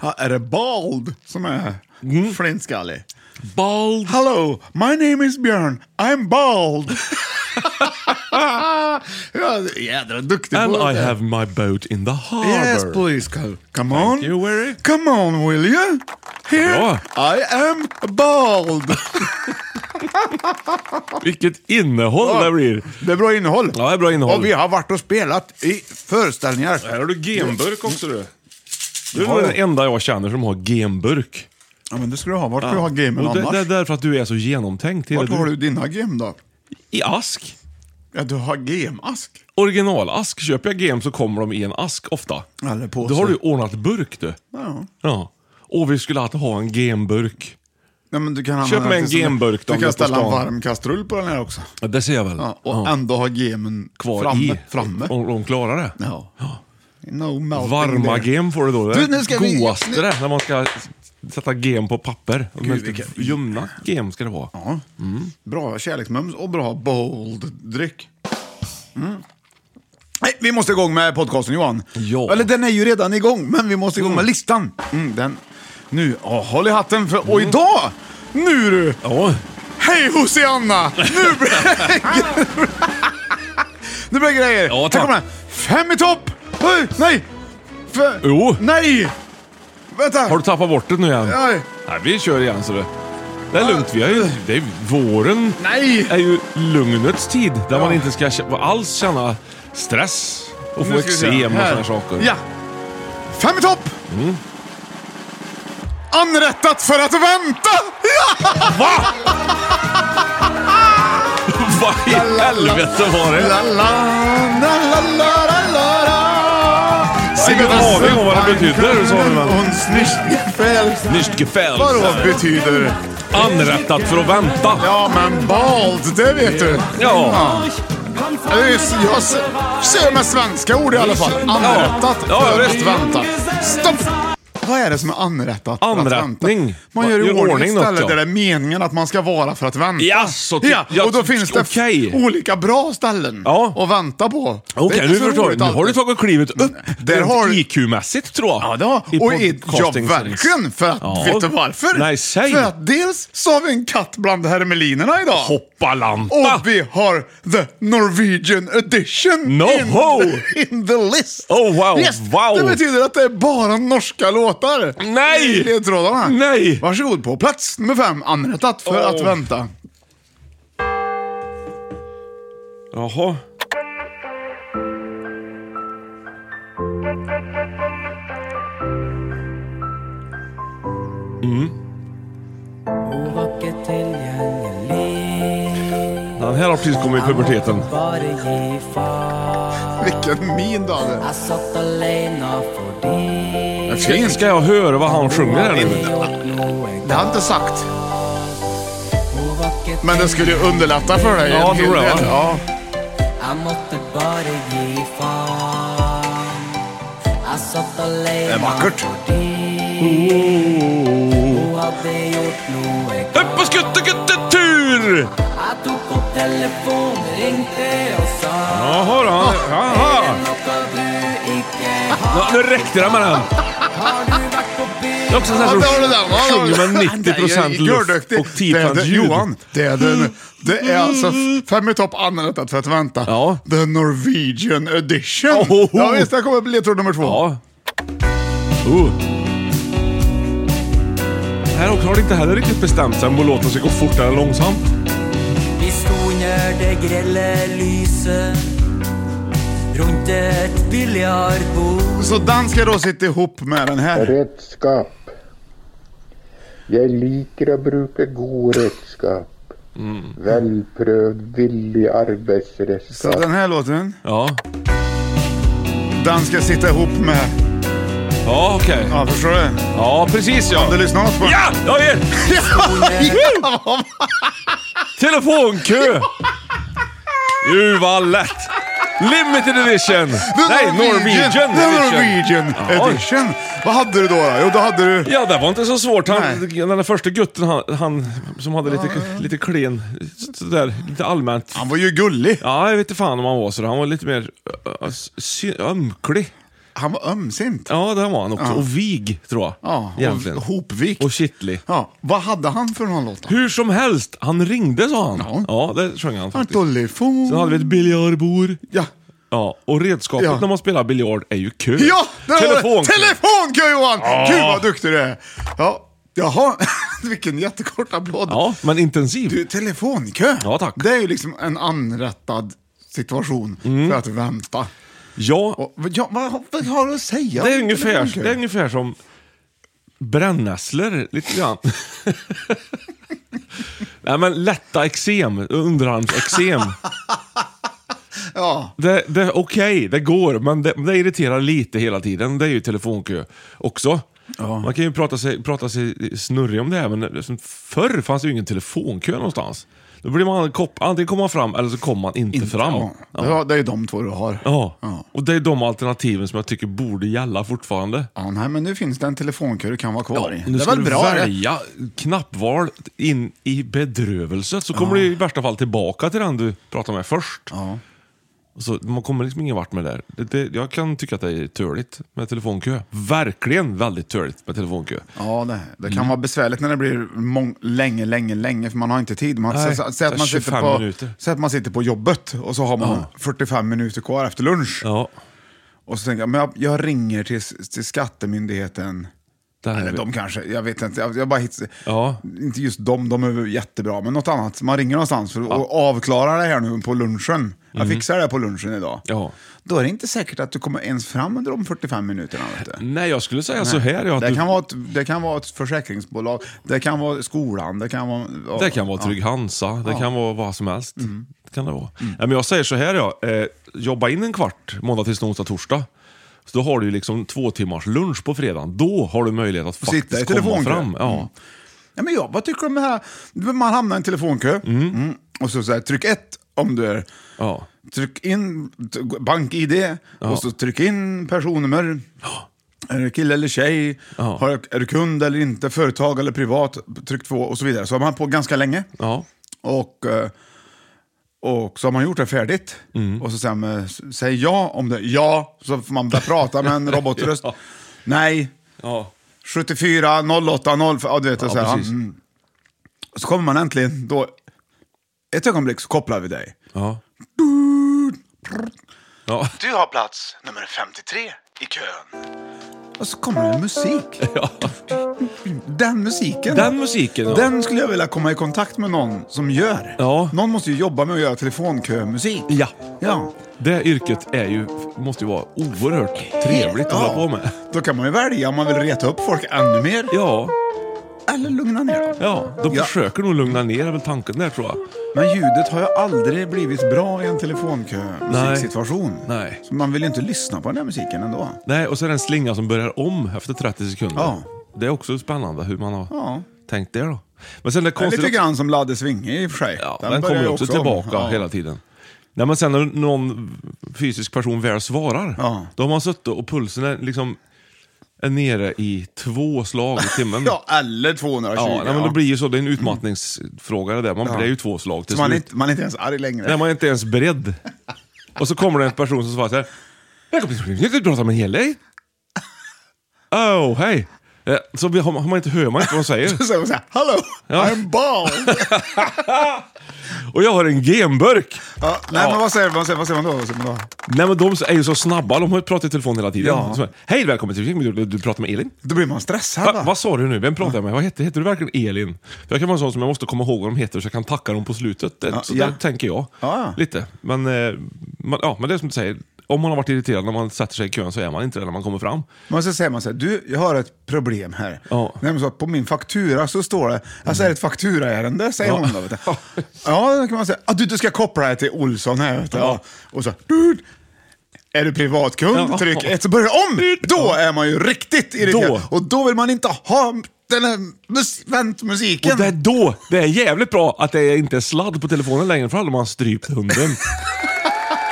[SPEAKER 2] Ja, är det bald som är
[SPEAKER 1] Mm.
[SPEAKER 2] flintskallig?
[SPEAKER 1] Bald.
[SPEAKER 2] Hello, my name is Björn. I'm bald. <laughs> ja, jädra duktig
[SPEAKER 1] And
[SPEAKER 2] på
[SPEAKER 1] I
[SPEAKER 2] det.
[SPEAKER 1] have my boat in the harbor.
[SPEAKER 2] Yes, please, co- come on.
[SPEAKER 1] you, Wery.
[SPEAKER 2] Come on, will you? Here,
[SPEAKER 1] Bra.
[SPEAKER 2] I am bald. <laughs>
[SPEAKER 1] Vilket innehåll det blir.
[SPEAKER 2] Det är bra innehåll.
[SPEAKER 1] Ja, det är bra innehåll.
[SPEAKER 2] Och vi har varit och spelat i föreställningar.
[SPEAKER 1] Här har du genburk också du. Du är
[SPEAKER 2] Ja, ja.
[SPEAKER 1] den enda jag känner som har genburk.
[SPEAKER 2] Ja, men det skulle du ha. Vart skulle du ha gamen
[SPEAKER 1] Och det,
[SPEAKER 2] annars?
[SPEAKER 1] det är därför att du är så genomtänkt. Hela
[SPEAKER 2] Vart har du dina game då?
[SPEAKER 1] I ask.
[SPEAKER 2] Ja, du har gemask.
[SPEAKER 1] Originalask. Köper jag gem så kommer de i en ask ofta.
[SPEAKER 2] Eller påse.
[SPEAKER 1] Då har du ordnat burk du.
[SPEAKER 2] Ja.
[SPEAKER 1] Ja. Och vi skulle alltid ha en gemburk.
[SPEAKER 2] Nej, men du kan använda
[SPEAKER 1] Köp mig
[SPEAKER 2] den
[SPEAKER 1] en
[SPEAKER 2] till sån-
[SPEAKER 1] gameburk då, om
[SPEAKER 2] Du
[SPEAKER 1] du är
[SPEAKER 2] kan
[SPEAKER 1] på
[SPEAKER 2] ställa en
[SPEAKER 1] stan.
[SPEAKER 2] varm kastrull på den här också.
[SPEAKER 1] Ja, Det ser jag väl.
[SPEAKER 2] Ja, och ändå ha gamen
[SPEAKER 1] Kvar
[SPEAKER 2] framme.
[SPEAKER 1] i.
[SPEAKER 2] framme.
[SPEAKER 1] Om de klarar det.
[SPEAKER 2] Ja. No melting
[SPEAKER 1] Varma
[SPEAKER 2] there.
[SPEAKER 1] gem får du då. Det
[SPEAKER 2] Du,
[SPEAKER 1] är
[SPEAKER 2] nu ska vi-
[SPEAKER 1] godaste
[SPEAKER 2] nu-
[SPEAKER 1] det, när man ska sätta gem på papper. Men
[SPEAKER 2] vilken-
[SPEAKER 1] Ljumna gem ska det vara.
[SPEAKER 2] Ja. Bra kärleksmums och bra bold-dryck. Mm. Nej, vi måste igång med podcasten Johan.
[SPEAKER 1] Ja.
[SPEAKER 2] Eller den är ju redan igång, men vi måste igång med listan. Mm, den. Nu, ja, håll i hatten för... Och idag! Nu du!
[SPEAKER 1] Ja.
[SPEAKER 2] Hej Hosianna! Nu blir det... <laughs> nu blir det grejer.
[SPEAKER 1] Ja, tack.
[SPEAKER 2] Här kommer den. Fem i topp! Oj, nej! Fe-
[SPEAKER 1] Jo.
[SPEAKER 2] Nej! Vänta!
[SPEAKER 1] Har du tappat bort det nu igen?
[SPEAKER 2] Nej.
[SPEAKER 1] Nej, vi kör igen så det. Det är lugnt. Vi har ju, det är, våren
[SPEAKER 2] Nej!
[SPEAKER 1] är ju lugnets tid där man inte ska kä- alls känna stress och få
[SPEAKER 2] Nu ska vi se.
[SPEAKER 1] eksem och
[SPEAKER 2] Här.
[SPEAKER 1] sådana saker. Mm.
[SPEAKER 2] Ja. Fem i topp! Anrättat för att vänta! Ja!
[SPEAKER 1] Va? Vad i helvete var det?
[SPEAKER 2] La, la, la, la, la, la, la, la.
[SPEAKER 1] har ingen aning om vad det betyder, sa du, men-
[SPEAKER 2] Uns nicht gefällt.
[SPEAKER 1] Nicht gefällt.
[SPEAKER 2] Vadå betyder?
[SPEAKER 1] Anrättat för att vänta.
[SPEAKER 2] Ja, men bald, det vet du.
[SPEAKER 1] Ja.
[SPEAKER 2] Det är s- Jag s- säger med svenska ord i alla fall. Anrättat
[SPEAKER 1] Ja,
[SPEAKER 2] för att
[SPEAKER 1] visst.
[SPEAKER 2] vänta. Stopp! Vad är det som är anrättat för att vänta?
[SPEAKER 1] Anrättning.
[SPEAKER 2] Man gör i ordning,
[SPEAKER 1] något,
[SPEAKER 2] stället
[SPEAKER 1] ja.
[SPEAKER 2] där det är meningen att man ska vara för att vänta.
[SPEAKER 1] Jaså, ty-
[SPEAKER 2] ja,
[SPEAKER 1] ja,
[SPEAKER 2] och då
[SPEAKER 1] ty-
[SPEAKER 2] finns det f-
[SPEAKER 1] okej.
[SPEAKER 2] olika bra ställen
[SPEAKER 1] Ja.
[SPEAKER 2] att vänta på.
[SPEAKER 1] Okej,
[SPEAKER 2] Det är
[SPEAKER 1] nu
[SPEAKER 2] inte så
[SPEAKER 1] förstår jag.
[SPEAKER 2] roligt
[SPEAKER 1] Nu har du
[SPEAKER 2] alltid.
[SPEAKER 1] tagit klivet upp
[SPEAKER 2] Där
[SPEAKER 1] rent
[SPEAKER 2] har-
[SPEAKER 1] IQ-mässigt tror jag.
[SPEAKER 2] Ja, det har
[SPEAKER 1] I
[SPEAKER 2] Och i, ja,
[SPEAKER 1] podcasting-
[SPEAKER 2] verkligen. För att,
[SPEAKER 1] Ja.
[SPEAKER 2] vet du varför?
[SPEAKER 1] Nej, säg.
[SPEAKER 2] För att dels så har vi en katt bland hermelinerna idag.
[SPEAKER 1] Hoppalampa!
[SPEAKER 2] Och vi har the Norwegian edition
[SPEAKER 1] No
[SPEAKER 2] in,
[SPEAKER 1] ho!
[SPEAKER 2] in the list.
[SPEAKER 1] Oh, wow,
[SPEAKER 2] Yes,
[SPEAKER 1] wow.
[SPEAKER 2] Det betyder att det är bara norska låtar
[SPEAKER 1] Nej!
[SPEAKER 2] i ledtrådarna.
[SPEAKER 1] Nej!
[SPEAKER 2] Varsågod, på plats nummer fem, anrättat för
[SPEAKER 1] Oh.
[SPEAKER 2] att vänta.
[SPEAKER 1] Jaha. Den här har precis kommit i puberteten.
[SPEAKER 2] Vilken min du hade.
[SPEAKER 1] Ska, ska jag höra vad han sjunger här nu?
[SPEAKER 2] Det har jag inte sagt. Men det skulle ju underlätta för dig.
[SPEAKER 1] Ja,
[SPEAKER 2] en hel
[SPEAKER 1] tror jag,
[SPEAKER 2] del.
[SPEAKER 1] va?
[SPEAKER 2] Ja. Det är vackert.
[SPEAKER 1] Upp och skutteguttetur! Jaha då.
[SPEAKER 2] Ah.
[SPEAKER 1] han- Jaha. Ja, nu räckte det med den. Det är också en sån
[SPEAKER 2] Ja,
[SPEAKER 1] här
[SPEAKER 2] där har du den.
[SPEAKER 1] som
[SPEAKER 2] Ja, där har du
[SPEAKER 1] sjunger
[SPEAKER 2] den.
[SPEAKER 1] med 90% luft
[SPEAKER 2] Görduktig.
[SPEAKER 1] och 10%
[SPEAKER 2] Det är det-
[SPEAKER 1] ljud. Mm.
[SPEAKER 2] Johan, det är, den, det är alltså f- fem i topp anrättat för att vänta.
[SPEAKER 1] Ja.
[SPEAKER 2] The Norwegian edition.
[SPEAKER 1] Ohoho.
[SPEAKER 2] Ja, visst, där kommer ledtråd nummer två.
[SPEAKER 1] Ja. Uh. Här också har det inte heller riktigt bestämt sig om låten ska gå fort eller långsamt.
[SPEAKER 2] Så den ska då sitta ihop med den här.
[SPEAKER 3] Redskap. Jeg liker å bruke god redskap. Velprøvd, villig
[SPEAKER 2] Så
[SPEAKER 3] arbeidsredskap.
[SPEAKER 2] den här låten,
[SPEAKER 1] Ja,
[SPEAKER 2] den ska sitta ihop med...
[SPEAKER 1] ja okej.
[SPEAKER 2] Ja, förstår du?
[SPEAKER 1] Ja, precis ja.
[SPEAKER 2] Om du lyssnar något på den. <laughs>
[SPEAKER 1] Ja, jag är <laughs> Telefonkö! Ju vad lätt! Limited edition! Nej, Norwegian
[SPEAKER 2] The
[SPEAKER 1] edition.
[SPEAKER 2] Norwegian
[SPEAKER 1] Ja.
[SPEAKER 2] edition. Vad hade du då? då? Jo, då hade du...
[SPEAKER 1] Ja, det var inte så svårt. Han,
[SPEAKER 2] Nej.
[SPEAKER 1] den där första gutten han, han som hade lite, lite klen, sådär, lite allmänt.
[SPEAKER 2] Han var ju gullig.
[SPEAKER 1] Ja, jag vet inte fan om han var så. Han var lite mer ö, sy- ömklig.
[SPEAKER 2] Han var ömsint.
[SPEAKER 1] Ja, det var han också. Och vig, tror jag.
[SPEAKER 2] Ja,
[SPEAKER 1] egentligen.
[SPEAKER 2] och hopvikt.
[SPEAKER 1] Och kittlig.
[SPEAKER 2] Ja, vad hade han för någon låt? då?
[SPEAKER 1] Hur som helst, han ringde sa han.
[SPEAKER 2] Ja.
[SPEAKER 1] Ja, det sjöng han
[SPEAKER 2] Han
[SPEAKER 1] faktiskt.
[SPEAKER 2] telefon.
[SPEAKER 1] Sen hade vi ett biljardbord.
[SPEAKER 2] Ja.
[SPEAKER 1] Ja, och redskapet
[SPEAKER 2] Ja.
[SPEAKER 1] när man spelar biljard är ju kö.
[SPEAKER 2] Ja, där har
[SPEAKER 1] Telefon!
[SPEAKER 2] du Telefonkö Johan! Gud vad duktig du är. Ja, jaha. <laughs> Vilken jättekort applåd.
[SPEAKER 1] Ja, men intensiv.
[SPEAKER 2] Du, telefonkö.
[SPEAKER 1] Ja, tack.
[SPEAKER 2] Det är ju liksom en anrättad situation
[SPEAKER 1] Mm.
[SPEAKER 2] för att vänta.
[SPEAKER 1] Ja,
[SPEAKER 2] Och, ja, vad, vad har du att säga?
[SPEAKER 1] det är,
[SPEAKER 2] om
[SPEAKER 1] ungefär,
[SPEAKER 2] telefonkö?
[SPEAKER 1] det är ungefär som brännässlor, lite grann. <laughs> Nej men lätta eksem, underarmseksem.
[SPEAKER 2] Ja.
[SPEAKER 1] Det, det, Okej, det går, men det, det irriterar lite hela tiden. Det är ju telefonkö också. Man kan ju prata sig, prata sig snurrig om det här, men liksom, förr fanns det ju ingen telefonkö någonstans. Då blir man kop- antingen kommer man fram eller så kommer man inte, fram.
[SPEAKER 2] Ja. Ja, det är ju de två du har.
[SPEAKER 1] Ja.
[SPEAKER 2] Ja.
[SPEAKER 1] och det är de alternativen som jag tycker borde gälla fortfarande.
[SPEAKER 2] Ja, nej, men nu finns det en telefonkö du kan vara kvar i.
[SPEAKER 1] Nu
[SPEAKER 2] Det är
[SPEAKER 1] ska
[SPEAKER 2] väl
[SPEAKER 1] du
[SPEAKER 2] bra? eller?
[SPEAKER 1] välja knappval in i bedrövelse, så kommer du i värsta fall tillbaka till den du pratade med först.
[SPEAKER 2] Ja.
[SPEAKER 1] Och Så man kommer liksom ingen vart med det där. Det, det, jag kan tycka att det är törligt med telefonkö. Verkligen väldigt törligt med telefonkö.
[SPEAKER 2] Ja, det, det
[SPEAKER 1] Mm.
[SPEAKER 2] kan vara besvärligt när det blir mång, länge, länge, länge, för man har inte tid. Man,
[SPEAKER 1] Nej,
[SPEAKER 2] sä- sä- säg, att
[SPEAKER 1] så
[SPEAKER 2] man sitter
[SPEAKER 1] 25
[SPEAKER 2] på,
[SPEAKER 1] minuter.
[SPEAKER 2] säg att man sitter på jobbet och så har man 45 minuter kvar efter lunch.
[SPEAKER 1] Ja,
[SPEAKER 2] Och så tänker jag, men jag, jag ringer till, s- till Skattemyndigheten.
[SPEAKER 1] där är
[SPEAKER 2] Eller
[SPEAKER 1] vi.
[SPEAKER 2] de kanske, jag vet inte. Jag, jag bara hittar,
[SPEAKER 1] Ja.
[SPEAKER 2] Inte just dem, de är jättebra, men något annat. Man ringer någonstans för att och avklarar det här nu på lunchen. Jag fixar det på lunchen idag.
[SPEAKER 1] Mm. Ja.
[SPEAKER 2] Då är det inte säkert att du kommer ens fram under de 45 minuterna. Vet du.
[SPEAKER 1] Nej, jag skulle säga så här. Ja, att
[SPEAKER 2] Det,
[SPEAKER 1] du,
[SPEAKER 2] kan vara ett, det kan vara ett försäkringsbolag, det kan vara skolan, det kan vara... ja, Mm.
[SPEAKER 1] det kan vara Trygg Hansa, det kan vara vad som helst. Det kan det vara. Ja, men jag säger så här, ja. eh, jobba in en kvart måndag, tisdag, onsdag, torsdag. Så då har du ju liksom två timmars lunch på fredagen. Då har du möjlighet att
[SPEAKER 2] sitta i
[SPEAKER 1] faktiskt komma
[SPEAKER 2] telefonkö. Mm.
[SPEAKER 1] fram. Ja.
[SPEAKER 2] Ja, men jag, vad tycker du om det här? Man hamnar i en telefonkö Mm. och så, så här, tryck ett om du är...
[SPEAKER 1] Ja.
[SPEAKER 2] Tryck in t- bank-id och så tryck in personnummer. Är du kille eller tjej?
[SPEAKER 1] Ja.
[SPEAKER 2] Har, är du kund eller inte? Företag eller privat? Tryck två och så vidare. Så har man på ganska länge.
[SPEAKER 1] Ja.
[SPEAKER 2] Och, eh, och så har man gjort det färdigt.
[SPEAKER 1] Mm.
[SPEAKER 2] Och så säger man, säg ja om det. Ja, så får man börja prata
[SPEAKER 1] <laughs>
[SPEAKER 2] med en robotröst.
[SPEAKER 1] Ja.
[SPEAKER 2] Nej,
[SPEAKER 1] Ja.
[SPEAKER 2] 74 08 0. Ja, du vet,
[SPEAKER 1] Ja,
[SPEAKER 2] så, här,
[SPEAKER 1] precis.
[SPEAKER 2] mm. så kommer man äntligen då. Ett ögonblick så kopplar vi dig.
[SPEAKER 1] Ja. Ja.
[SPEAKER 2] Du har plats nummer 53 i kön. Och så kommer det musik. Den
[SPEAKER 1] <laughs>
[SPEAKER 2] musiken.
[SPEAKER 1] Den musiken, ja.
[SPEAKER 2] Den skulle jag vilja komma i kontakt med någon som gör.
[SPEAKER 1] Ja.
[SPEAKER 2] Någon måste ju jobba med att göra telefonkömusik.
[SPEAKER 1] Ja.
[SPEAKER 2] Ja.
[SPEAKER 1] Det yrket är ju, måste ju vara oerhört trevligt att
[SPEAKER 2] Ja.
[SPEAKER 1] hålla på med.
[SPEAKER 2] Då kan man ju välja om man vill reta upp folk ännu mer
[SPEAKER 1] Ja,
[SPEAKER 2] eller lugna ner dem.
[SPEAKER 1] ja. De
[SPEAKER 2] Ja.
[SPEAKER 1] försöker nog lugna ner är väl tanken där tror jag.
[SPEAKER 2] Men ljudet har ju aldrig blivit bra i en telefonkö-musiksituation.
[SPEAKER 1] Nej.
[SPEAKER 2] Så man vill ju inte lyssna på den här musiken ändå.
[SPEAKER 1] Nej, och så är det en slinga som börjar om efter 30 sekunder.
[SPEAKER 2] Ja.
[SPEAKER 1] Det är också spännande hur man har
[SPEAKER 2] Ja.
[SPEAKER 1] tänkt det då. Men sen det
[SPEAKER 2] Det är
[SPEAKER 1] konstiga...
[SPEAKER 2] lite grann som Ladde Svinge i och för sig.
[SPEAKER 1] Ja,
[SPEAKER 2] Den
[SPEAKER 1] den,
[SPEAKER 2] börjar
[SPEAKER 1] kommer
[SPEAKER 2] ju
[SPEAKER 1] ju också
[SPEAKER 2] också om.
[SPEAKER 1] tillbaka
[SPEAKER 2] Ja.
[SPEAKER 1] hela tiden. Nej, men sen när någon fysisk person väl svarar,
[SPEAKER 2] Ja.
[SPEAKER 1] då har man suttit och pulsen är, liksom, är nere i två slag i timmen.
[SPEAKER 2] <laughs> Ja, eller 220.
[SPEAKER 1] Ja, nej, men det blir ju så. Det är en utmattningsfråga det där. Man, Det är ju två slag till
[SPEAKER 2] så man, är
[SPEAKER 1] slut.
[SPEAKER 2] inte, man är inte ens arg längre.
[SPEAKER 1] Nej, man är inte ens beredd. Och så kommer det en person som svarar så här. Jag kommer inte prata med hela dig. Oh, hej. Eh, Så vi- har man har man inte, hör man inte vad de säger.
[SPEAKER 2] <laughs> Så man säger hello,
[SPEAKER 1] Ja.
[SPEAKER 2] I'm bald.
[SPEAKER 1] Och jag har en genburk.
[SPEAKER 2] ja, nej, men vad säger, vad, säger, vad säger man då? Vad säger man då?
[SPEAKER 1] Nej men de är ju så snabba, de har ju pratat i telefon hela tiden.
[SPEAKER 2] Ja.
[SPEAKER 1] Så, Hej välkommen till du, du, du pratar med Elin.
[SPEAKER 2] Då blir man stressad.
[SPEAKER 1] Va, vad sa du nu? Vem pratar jag med? Vad heter, heter du verkligen Elin? För jag kan vara en sån som jag måste komma ihåg vad de heter så jag kan tacka dem på slutet. Det,
[SPEAKER 2] Ja,
[SPEAKER 1] så
[SPEAKER 2] ja.
[SPEAKER 1] där tänker jag.
[SPEAKER 2] Ja.
[SPEAKER 1] Lite. Men, eh, man, ja, men det är som du säger, om man har varit irriterad när man sätter sig i kön så är man inte det när man kommer fram.
[SPEAKER 2] Men så säger man så här, du, jag har ett problem här.
[SPEAKER 1] Ja.
[SPEAKER 2] Nämligen så att på min faktura så står det, alltså är det ett fakturaärende,
[SPEAKER 1] <laughs>
[SPEAKER 2] säger
[SPEAKER 1] Ja.
[SPEAKER 2] hon då. Vet du. Ja, då kan man säga, ah, du, du ska koppla det här till Olsson här. Vet du. Ja. Och så, du, är du privatkund,
[SPEAKER 1] Ja.
[SPEAKER 2] tryck ett, så börjar det om. Då är man ju riktigt irriterad.
[SPEAKER 1] Då.
[SPEAKER 2] Och då vill man inte ha den här mus- väntmusiken.
[SPEAKER 1] Och det är då det är jävligt bra att det inte är sladd på telefonen längre, för då hade man strypt hunden.
[SPEAKER 2] <laughs>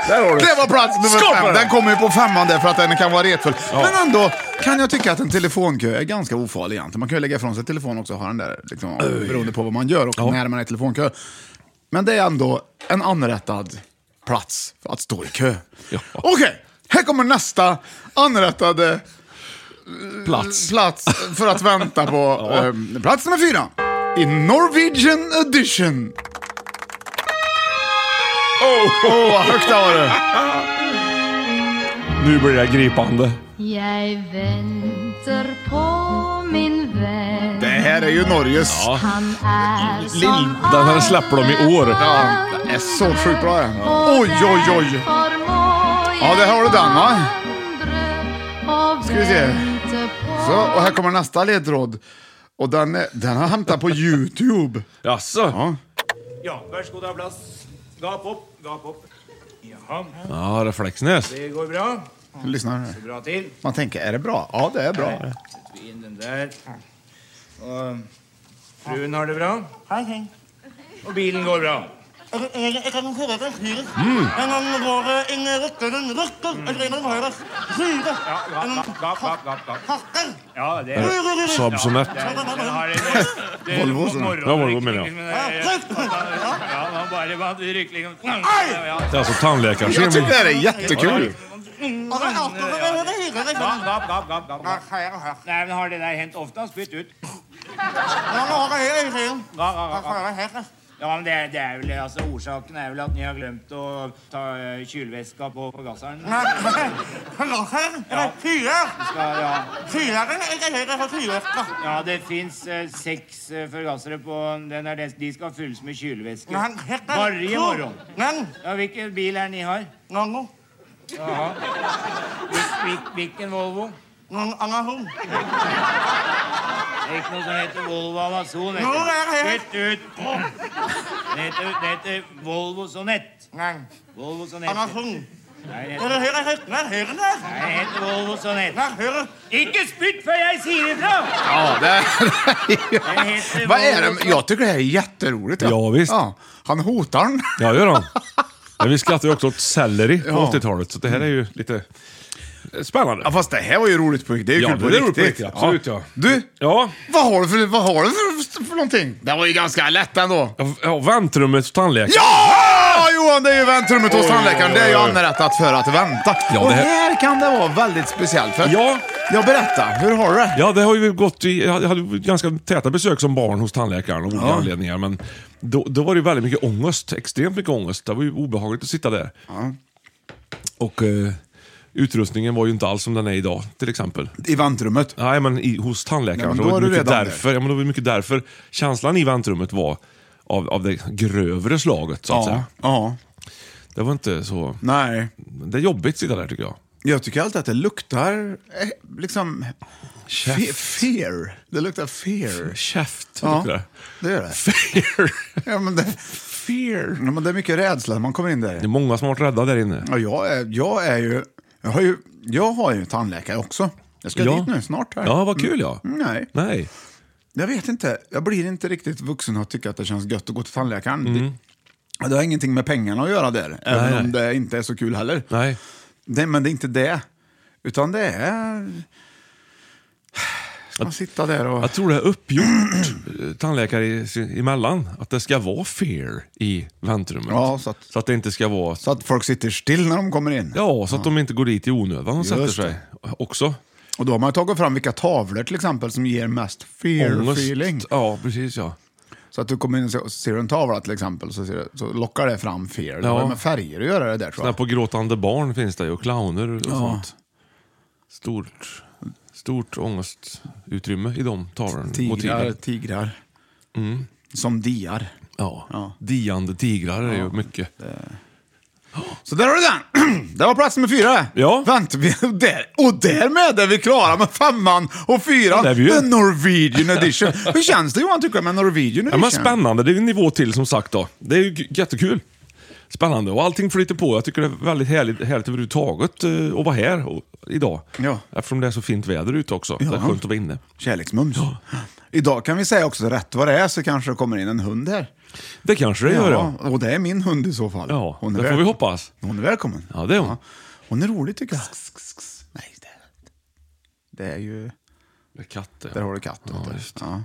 [SPEAKER 1] Där har du
[SPEAKER 2] Det var plats nummer
[SPEAKER 1] Skapa
[SPEAKER 2] fem.
[SPEAKER 1] det!
[SPEAKER 2] Den kommer ju på femman där för att den kan vara retfull. Men ändå kan jag tycka att en telefonkö är ganska ofarlig egentligen. Man kan ju lägga ifrån sig telefonen också och ha den där, liksom, beroende på vad man gör och när man är i telefonkö. Men det är ändå en anrättad plats för att stå i kö.
[SPEAKER 1] Ja.
[SPEAKER 2] Okej, här kommer nästa anrättade
[SPEAKER 1] plats.
[SPEAKER 2] plats för att
[SPEAKER 1] <laughs>
[SPEAKER 2] vänta på. eh, plats nummer fyra. I Norwegian edition. Åh, oh, vad högt det var det.
[SPEAKER 1] Nu blir det gripande.
[SPEAKER 4] Jag väntar på min vän
[SPEAKER 2] Det här är ju Norges.
[SPEAKER 1] Ja.
[SPEAKER 4] Han är som
[SPEAKER 1] Den här släpper de i år.
[SPEAKER 2] Ja, den är så sjukt bra den.
[SPEAKER 4] Och
[SPEAKER 2] Oj, oj, oj.
[SPEAKER 4] därför må
[SPEAKER 2] Ja, där har du
[SPEAKER 4] jag
[SPEAKER 2] den, va?
[SPEAKER 4] vandra och
[SPEAKER 2] Ska vi se.
[SPEAKER 4] vänta på
[SPEAKER 2] Så, och här kommer nästa ledtråd. Och den, är, den har jag hämtat på YouTube.
[SPEAKER 1] Jaså?
[SPEAKER 2] Ja.
[SPEAKER 5] Ja, varsågod ha plats. er Gap upp, gap upp. Jaha,
[SPEAKER 1] Ja, reflexnäs.
[SPEAKER 5] det går bra.
[SPEAKER 2] Lyssna här.
[SPEAKER 5] Bra till.
[SPEAKER 2] Man tänker, är det bra? Ja, det är bra.
[SPEAKER 5] Vi in den där. Och frun har det bra.
[SPEAKER 6] Hej, hej.
[SPEAKER 5] Och bilen går bra. Mm.
[SPEAKER 6] Altså, jeg, jeg kan høre det fire. En gang går det en rotte, en rotte, en gang går det fire.
[SPEAKER 5] Ja, gap, gap, gap, gap, gap, gap.
[SPEAKER 6] Hakker.
[SPEAKER 5] Ja, det är...
[SPEAKER 1] Saab Sonett.
[SPEAKER 5] Den har en... det är
[SPEAKER 2] Volvo, så.
[SPEAKER 5] morgon-
[SPEAKER 1] Ja, Volvo menar jag.
[SPEAKER 5] liksom, den här- Ja, man bara man rycker liksom...
[SPEAKER 1] Det är alltså tandläkaren.
[SPEAKER 2] Jag tycker det här är jättekul.
[SPEAKER 5] Gap, gap, gap, gap, gap, gap. Nej, men har det där hänt oftast? Bytt ut. Gap, gap, gap, gap. Ja, men det er, det alltså, er vel, altså, Årsaken er vel at ni har glemt å ta eh, kjøleveska på, på gasseren. Skal, ja. ja, det fins eh, seks eh, forgassere på den er det, De skal fylles med kjølevæske. Varje morgon. Ja, hvilken bil er det ni har? Hvil, hvil, hvilken Volvo? Det er ikke noe som heter Volvo Amazon. vet du.
[SPEAKER 6] Nå er det-
[SPEAKER 5] Bytt ut! Det heter, det heter Volvo Sonett. Volvo Sonett. Nei, det heter, nei, det heter Volvo Sonett. Ikke spytt før jeg sier ifra!
[SPEAKER 2] Ja, det
[SPEAKER 5] Det heter
[SPEAKER 2] <laughs> Vad är
[SPEAKER 5] Volvo
[SPEAKER 2] det? Jag tycker det här är jätteroligt.
[SPEAKER 1] Ja, visst.
[SPEAKER 2] Han hotar den.
[SPEAKER 1] Ja, gör han. Men vi skrattar ju också åt selleri på
[SPEAKER 2] Ja.
[SPEAKER 1] 80-talet, så det här är ju lite... Spännande.
[SPEAKER 2] Ja, fast det här var ju roligt på riktigt. Det är ju
[SPEAKER 1] Ja,
[SPEAKER 2] kul på
[SPEAKER 1] det är
[SPEAKER 2] riktigt.
[SPEAKER 1] roligt på riktigt, absolut, ja.
[SPEAKER 2] Du,
[SPEAKER 1] Ja.
[SPEAKER 2] vad har du för, vad har du för, för någonting? Det var ju ganska lätt ändå.
[SPEAKER 1] Ja, ja, väntrummet hos tandläkaren.
[SPEAKER 2] Ja! Johan, det är ju väntrummet hos tandläkaren. Det är ju anrättat för att vänta.
[SPEAKER 1] Ja,
[SPEAKER 2] Och
[SPEAKER 1] det här-
[SPEAKER 2] här kan det vara väldigt speciellt. För
[SPEAKER 1] Ja.
[SPEAKER 2] jag berättar, hur har du det?
[SPEAKER 1] Ja, det har ju gått i, jag hade ju ganska täta besök som barn hos tandläkaren av olika anledningar. Men då, då var det ju väldigt mycket ångest, extremt mycket ångest. Det var ju obehagligt att sitta där. Och eh, utrustningen var ju inte alls som den är idag, till exempel.
[SPEAKER 2] I väntrummet.
[SPEAKER 1] Nej, men i, hos tandläkaren.
[SPEAKER 2] Nej, men
[SPEAKER 1] Så det
[SPEAKER 2] då
[SPEAKER 1] var
[SPEAKER 2] är du
[SPEAKER 1] mycket
[SPEAKER 2] redan
[SPEAKER 1] därför, ja, men då var det mycket därför känslan i väntrummet var av, av det grövre slaget, så att säga.
[SPEAKER 2] Ja. ja.
[SPEAKER 1] Det var inte så...
[SPEAKER 2] Nej.
[SPEAKER 1] Det är jobbigt att sitta där, tycker jag.
[SPEAKER 2] Jag tycker alltid att det luktar eh, liksom... Fe- fear. Det luktar fear.
[SPEAKER 1] Käft,
[SPEAKER 2] Ja,
[SPEAKER 1] tycker jag.
[SPEAKER 2] det gör det.
[SPEAKER 1] Fear.
[SPEAKER 2] <laughs> Ja, men det,
[SPEAKER 1] Fear.
[SPEAKER 2] ja, men det är mycket rädsla när man kommer in
[SPEAKER 1] Det är
[SPEAKER 2] där.
[SPEAKER 1] många som har varit rädda där inne.
[SPEAKER 2] Ja, jag, är, jag är ju... Jag har ju, jag har ju tandläkare också. Jag ska dit nu snart. Här.
[SPEAKER 1] Ja, vad kul ja.
[SPEAKER 2] Mm, Nej,
[SPEAKER 1] Nej.
[SPEAKER 2] jag vet inte. Jag blir inte riktigt vuxen och tycker att det känns gött att gå till tandläkaren. Det, det har ingenting med pengarna att göra där, även
[SPEAKER 1] Mm. nej.
[SPEAKER 2] om det inte är så kul heller.
[SPEAKER 1] Nej.
[SPEAKER 2] Det, men det är inte det, utan det är... Ska man sitta där och...
[SPEAKER 1] Jag tror det är uppgjort eh, tandläkare i- emellan att det ska vara fear i väntrummet.
[SPEAKER 2] Ja, så att-
[SPEAKER 1] det inte ska vara...
[SPEAKER 2] Så att folk sitter still när de kommer in.
[SPEAKER 1] Ja, så att de inte går dit i onödan och sätter
[SPEAKER 2] Just
[SPEAKER 1] sig också.
[SPEAKER 2] Och då har man ju tagit fram vilka tavlor till exempel som ger mest fear feeling.
[SPEAKER 1] Ja, precis ja.
[SPEAKER 2] Så att du kommer in och ser- och ser en tavla till exempel så, ser det, så lockar det fram fear. Det
[SPEAKER 1] Ja.
[SPEAKER 2] har ju med färger att göra det där tror
[SPEAKER 1] Där
[SPEAKER 2] jag.
[SPEAKER 1] på gråtande barn finns det ju, och clowner och sånt. Stort, stort ångestutrymme i de tavlorna.
[SPEAKER 2] Tigrar,
[SPEAKER 1] motiven.
[SPEAKER 2] tigrar.
[SPEAKER 1] Mm.
[SPEAKER 2] Som diar.
[SPEAKER 1] Ja.
[SPEAKER 2] Ja.
[SPEAKER 1] Diande tigrar är ju mycket.
[SPEAKER 2] Så där har du den! <clears throat> Det var plats nummer fyra.
[SPEAKER 1] Ja.
[SPEAKER 2] Vänt, vi- där. Och därmed är vi klara med femman och fyran.
[SPEAKER 1] Det är vi ju.
[SPEAKER 2] The Norwegian edition. Hur känns det Johan tycker du med Norwegian
[SPEAKER 1] Ja,
[SPEAKER 2] edition?
[SPEAKER 1] men spännande, det är ju en nivå till som sagt då. Det är ju g- jättekul. Spännande och allting flyter på. Jag tycker det är väldigt härligt, härligt överhuvudtaget eh, att vara här och, idag.
[SPEAKER 2] Ja.
[SPEAKER 1] Eftersom det är så fint väder ute också. Det är skönt att vara inne.
[SPEAKER 2] Kärleksmums. Idag kan vi säga också att rätt vad det är så kanske det kommer in en hund här.
[SPEAKER 1] Det kanske det gör ja.
[SPEAKER 2] Och det är min hund i så fall.
[SPEAKER 1] Ja,
[SPEAKER 2] Hon är
[SPEAKER 1] det får
[SPEAKER 2] väl-
[SPEAKER 1] vi hoppas.
[SPEAKER 2] Hon är välkommen.
[SPEAKER 1] Ja, det är hon.
[SPEAKER 2] Hon är rolig tycker jag. Nej, det, det är ju...
[SPEAKER 1] Med katter.
[SPEAKER 2] Där har du katten.
[SPEAKER 1] Ja,
[SPEAKER 2] vet du.
[SPEAKER 1] just.
[SPEAKER 2] Ja.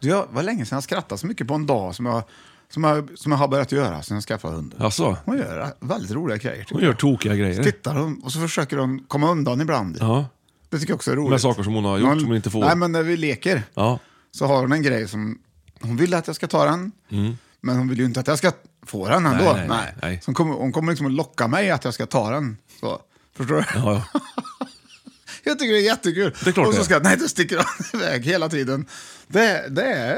[SPEAKER 2] Du, jag var länge sedan jag skrattade så mycket på en dag som jag, som jag, som jag har börjat göra sedan jag skaffade hunden.
[SPEAKER 1] Alltså,
[SPEAKER 2] Hon gör väldigt roliga grejer. tycker
[SPEAKER 1] hon gör
[SPEAKER 2] jag.
[SPEAKER 1] tokiga grejer.
[SPEAKER 2] Tittar hon och så försöker hon komma undan ibland.
[SPEAKER 1] Ja.
[SPEAKER 2] Det tycker jag också är roligt.
[SPEAKER 1] Med saker som hon har gjort som hon inte får.
[SPEAKER 2] Nej, men när vi leker
[SPEAKER 1] Ja.
[SPEAKER 2] så har hon en grej som hon vill att jag ska ta den, men hon vill ju inte att jag ska få den ändå.
[SPEAKER 1] Mm. Nej, nej, nej, nej.
[SPEAKER 2] Så hon kommer, hon kommer liksom att locka mig att jag ska ta den. Så, förstår du? <laughs>
[SPEAKER 1] Ja, ja.
[SPEAKER 2] Jag tycker det är jättekul.
[SPEAKER 1] Det är klart
[SPEAKER 2] och så
[SPEAKER 1] det.
[SPEAKER 2] ska nej, det sticker hon <laughs> iväg hela tiden. Det, det är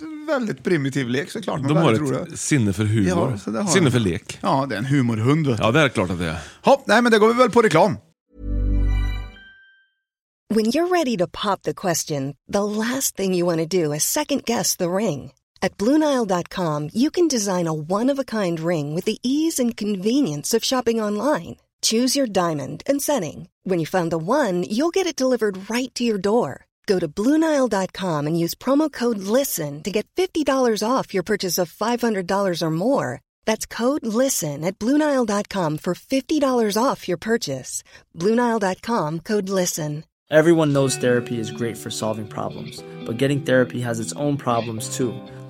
[SPEAKER 2] en väldigt primitiv lek såklart, men
[SPEAKER 1] De har
[SPEAKER 2] väldigt
[SPEAKER 1] ett
[SPEAKER 2] rolig.
[SPEAKER 1] sinne för humor.
[SPEAKER 2] Ja, så det har
[SPEAKER 1] sinne
[SPEAKER 2] de.
[SPEAKER 1] för lek.
[SPEAKER 2] Ja, det är en humorhund. vet du.
[SPEAKER 1] Ja, det är klart att det är.
[SPEAKER 2] Hopp, nej, men det går vi väl på reklam.
[SPEAKER 7] When you're ready to pop the question, the last thing you want to do is second guess the ring. At Bluenile.com, you can design a one of a kind ring with the ease and convenience of shopping online. Choose your diamond and setting. When you find the one, you'll get it delivered right to your door. Go to Bluenile.com and use promo code LISTEN to get $50 off your purchase of $500 or more. That's code LISTEN at Bluenile.com for $50 off your purchase. Bluenile.com code LISTEN.
[SPEAKER 8] Everyone knows therapy is great for solving problems, but getting therapy has its own problems too,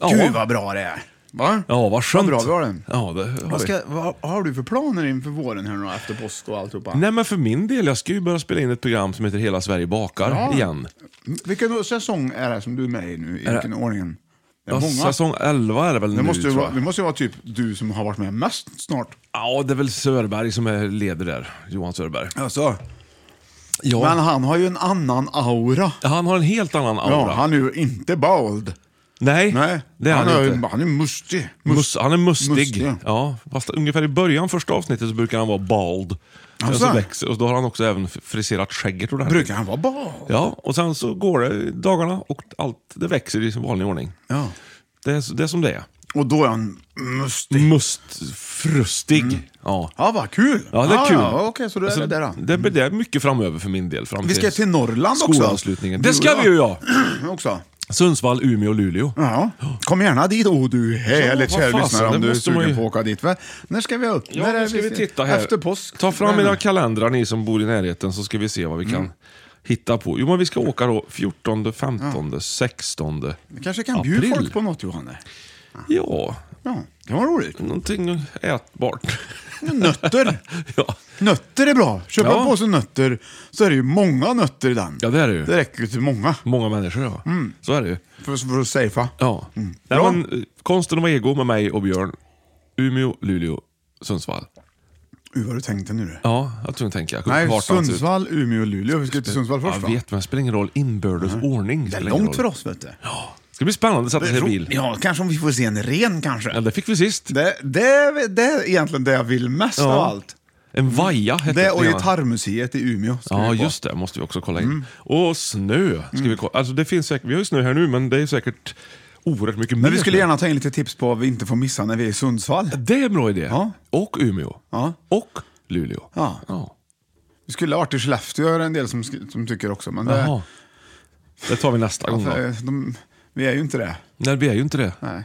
[SPEAKER 1] Ja.
[SPEAKER 2] Gud vad bra det är. Va?
[SPEAKER 1] Ja, vad skönt.
[SPEAKER 2] Vad bra vi har den.
[SPEAKER 1] Ja, det har
[SPEAKER 2] Vad,
[SPEAKER 1] vi.
[SPEAKER 2] ska, vad har du för planer inför våren här nu efter påsk och alltihopa?
[SPEAKER 1] Nej, men för min del, jag ska ju börja spela in ett program som heter Hela Sverige bakar
[SPEAKER 2] Ja.
[SPEAKER 1] igen.
[SPEAKER 2] Vilken säsong är det som du är med i nu?
[SPEAKER 1] Är
[SPEAKER 2] I
[SPEAKER 1] det-
[SPEAKER 2] vilken ordningen? Det är
[SPEAKER 1] Ja,
[SPEAKER 2] många.
[SPEAKER 1] säsong 11 är det väl
[SPEAKER 2] Det
[SPEAKER 1] nu,
[SPEAKER 2] måste, ju
[SPEAKER 1] tror
[SPEAKER 2] vara,
[SPEAKER 1] jag.
[SPEAKER 2] det måste ju vara typ du som har varit med mest snart.
[SPEAKER 1] Ja, det är väl Sörberg som är leder där. Johan Sörberg.
[SPEAKER 2] Alltså.
[SPEAKER 1] Ja.
[SPEAKER 2] Men han har ju en annan aura.
[SPEAKER 1] Han har en helt annan aura.
[SPEAKER 2] Ja, han är ju inte bald.
[SPEAKER 1] Nej,
[SPEAKER 2] Nej,
[SPEAKER 1] det är han,
[SPEAKER 2] är,
[SPEAKER 1] inte.
[SPEAKER 2] han är mustig.
[SPEAKER 1] Mus- han är mustig.
[SPEAKER 2] Mustig.
[SPEAKER 1] Ja, fast ungefär i början första avsnittet så brukar han vara bald. Sen
[SPEAKER 2] Alltså?
[SPEAKER 1] så växer, och då har han också även friserat skägget ordentligt.
[SPEAKER 2] Brukar han vara bald?
[SPEAKER 1] Ja, och sen så går det dagarna och allt det växer i sin vanlig ordning.
[SPEAKER 2] Ja.
[SPEAKER 1] Det är, det är som det är.
[SPEAKER 2] Och då är han mustig.
[SPEAKER 1] Mustfrustig.
[SPEAKER 2] Mm.
[SPEAKER 1] Ja.
[SPEAKER 2] Ja, vad kul.
[SPEAKER 1] ja, det är
[SPEAKER 2] Ah,
[SPEAKER 1] kul. Alltså,
[SPEAKER 2] ja, okej, så då är det där då.
[SPEAKER 1] det, blir- det är mycket framöver för min del. Fram
[SPEAKER 2] Vi ska till Norrland också.
[SPEAKER 1] Skolavslutningen.
[SPEAKER 2] Du
[SPEAKER 1] Det ska
[SPEAKER 2] och
[SPEAKER 1] vi ju ja.
[SPEAKER 2] <clears throat> också.
[SPEAKER 1] Sundsvall, Umeå, Luleå.
[SPEAKER 2] Ja, kom gärna dit. Oh, du härligt
[SPEAKER 1] Ja,
[SPEAKER 2] kära
[SPEAKER 1] vad fasen,
[SPEAKER 2] lyssnare om
[SPEAKER 1] det
[SPEAKER 2] du är
[SPEAKER 1] måste man
[SPEAKER 2] sugen
[SPEAKER 1] ju-
[SPEAKER 2] på att åka dit. Va? När ska vi upp?
[SPEAKER 1] Ja,
[SPEAKER 2] När är
[SPEAKER 1] nu ska vi titta här.
[SPEAKER 2] Efter påsk.
[SPEAKER 1] Ta fram
[SPEAKER 2] Nej,
[SPEAKER 1] era
[SPEAKER 2] nej. Mm.
[SPEAKER 1] kalendrar ni som bor i närheten så ska vi se vad vi kan hitta på. Jo, men vi ska åka då 14, 15, 16
[SPEAKER 2] Vi kanske kan bjuda
[SPEAKER 1] April.
[SPEAKER 2] folk på något, Johanne.
[SPEAKER 1] Ja,
[SPEAKER 2] Ja, det var roligt.
[SPEAKER 1] någonting ätbart. <laughs>
[SPEAKER 2] Nötter.
[SPEAKER 1] ja.
[SPEAKER 2] Nötter är bra. Köp
[SPEAKER 1] Ja.
[SPEAKER 2] en påse nötter så är det ju många nötter i den.
[SPEAKER 1] ja, det är det ju.
[SPEAKER 2] Det räcker ju till många.
[SPEAKER 1] Många människor, ja. Så är det ju.
[SPEAKER 2] För, för att safea.
[SPEAKER 1] Ja. Nej,
[SPEAKER 2] Mm. Bra.
[SPEAKER 1] men, eh, konsten att vara ego med mig och Björn. Umeå, Luleå, Sundsvall.
[SPEAKER 2] Hur har du tänkt det nu? du?
[SPEAKER 1] Ja, jag tror inte tänker. Jag kunde
[SPEAKER 2] Nej,
[SPEAKER 1] kartan ser ut.
[SPEAKER 2] Sundsvall, Umeå, Luleå. Vi ska till Sundsvall först
[SPEAKER 1] Jag
[SPEAKER 2] va?
[SPEAKER 1] vet, men det spelar ingen roll. Inbördes ordning.
[SPEAKER 2] Det är
[SPEAKER 1] spelar ingen
[SPEAKER 2] långt för
[SPEAKER 1] roll.
[SPEAKER 2] oss vet du.
[SPEAKER 1] Det ska bli spännande att sätta sig i bil.
[SPEAKER 2] Ja, kanske om vi får se en ren kanske.
[SPEAKER 1] Ja, det fick vi sist.
[SPEAKER 2] Det, det, det är egentligen det jag vill mest
[SPEAKER 1] Ja.
[SPEAKER 2] av allt.
[SPEAKER 1] En vaja hette
[SPEAKER 2] Det och
[SPEAKER 1] det.
[SPEAKER 2] Gitarrmuseet i Umeå. ska
[SPEAKER 1] Ja,
[SPEAKER 2] vi på. Mm.
[SPEAKER 1] just det. måste vi också kolla in. Och snö. Ska vi, kolla. Alltså, det finns säkert, vi har ju snö här nu, men det är säkert oerhört mycket mer.
[SPEAKER 2] Men vi skulle
[SPEAKER 1] snö.
[SPEAKER 2] gärna ta in lite tips på vad vi inte får missa när vi är i Sundsvall.
[SPEAKER 1] Det är en bra idé.
[SPEAKER 2] Ja.
[SPEAKER 1] Och Umeå.
[SPEAKER 2] Ja.
[SPEAKER 1] Och Luleå.
[SPEAKER 2] Ja. Vi skulle ha varit i Skellefteå, är det en del som, sk- som tycker också. Men
[SPEAKER 1] Jaha.
[SPEAKER 2] det,
[SPEAKER 1] Det tar vi nästa gång då.
[SPEAKER 2] för, de, vi är ju inte det.
[SPEAKER 1] Nej, vi är ju inte det.
[SPEAKER 2] Nej.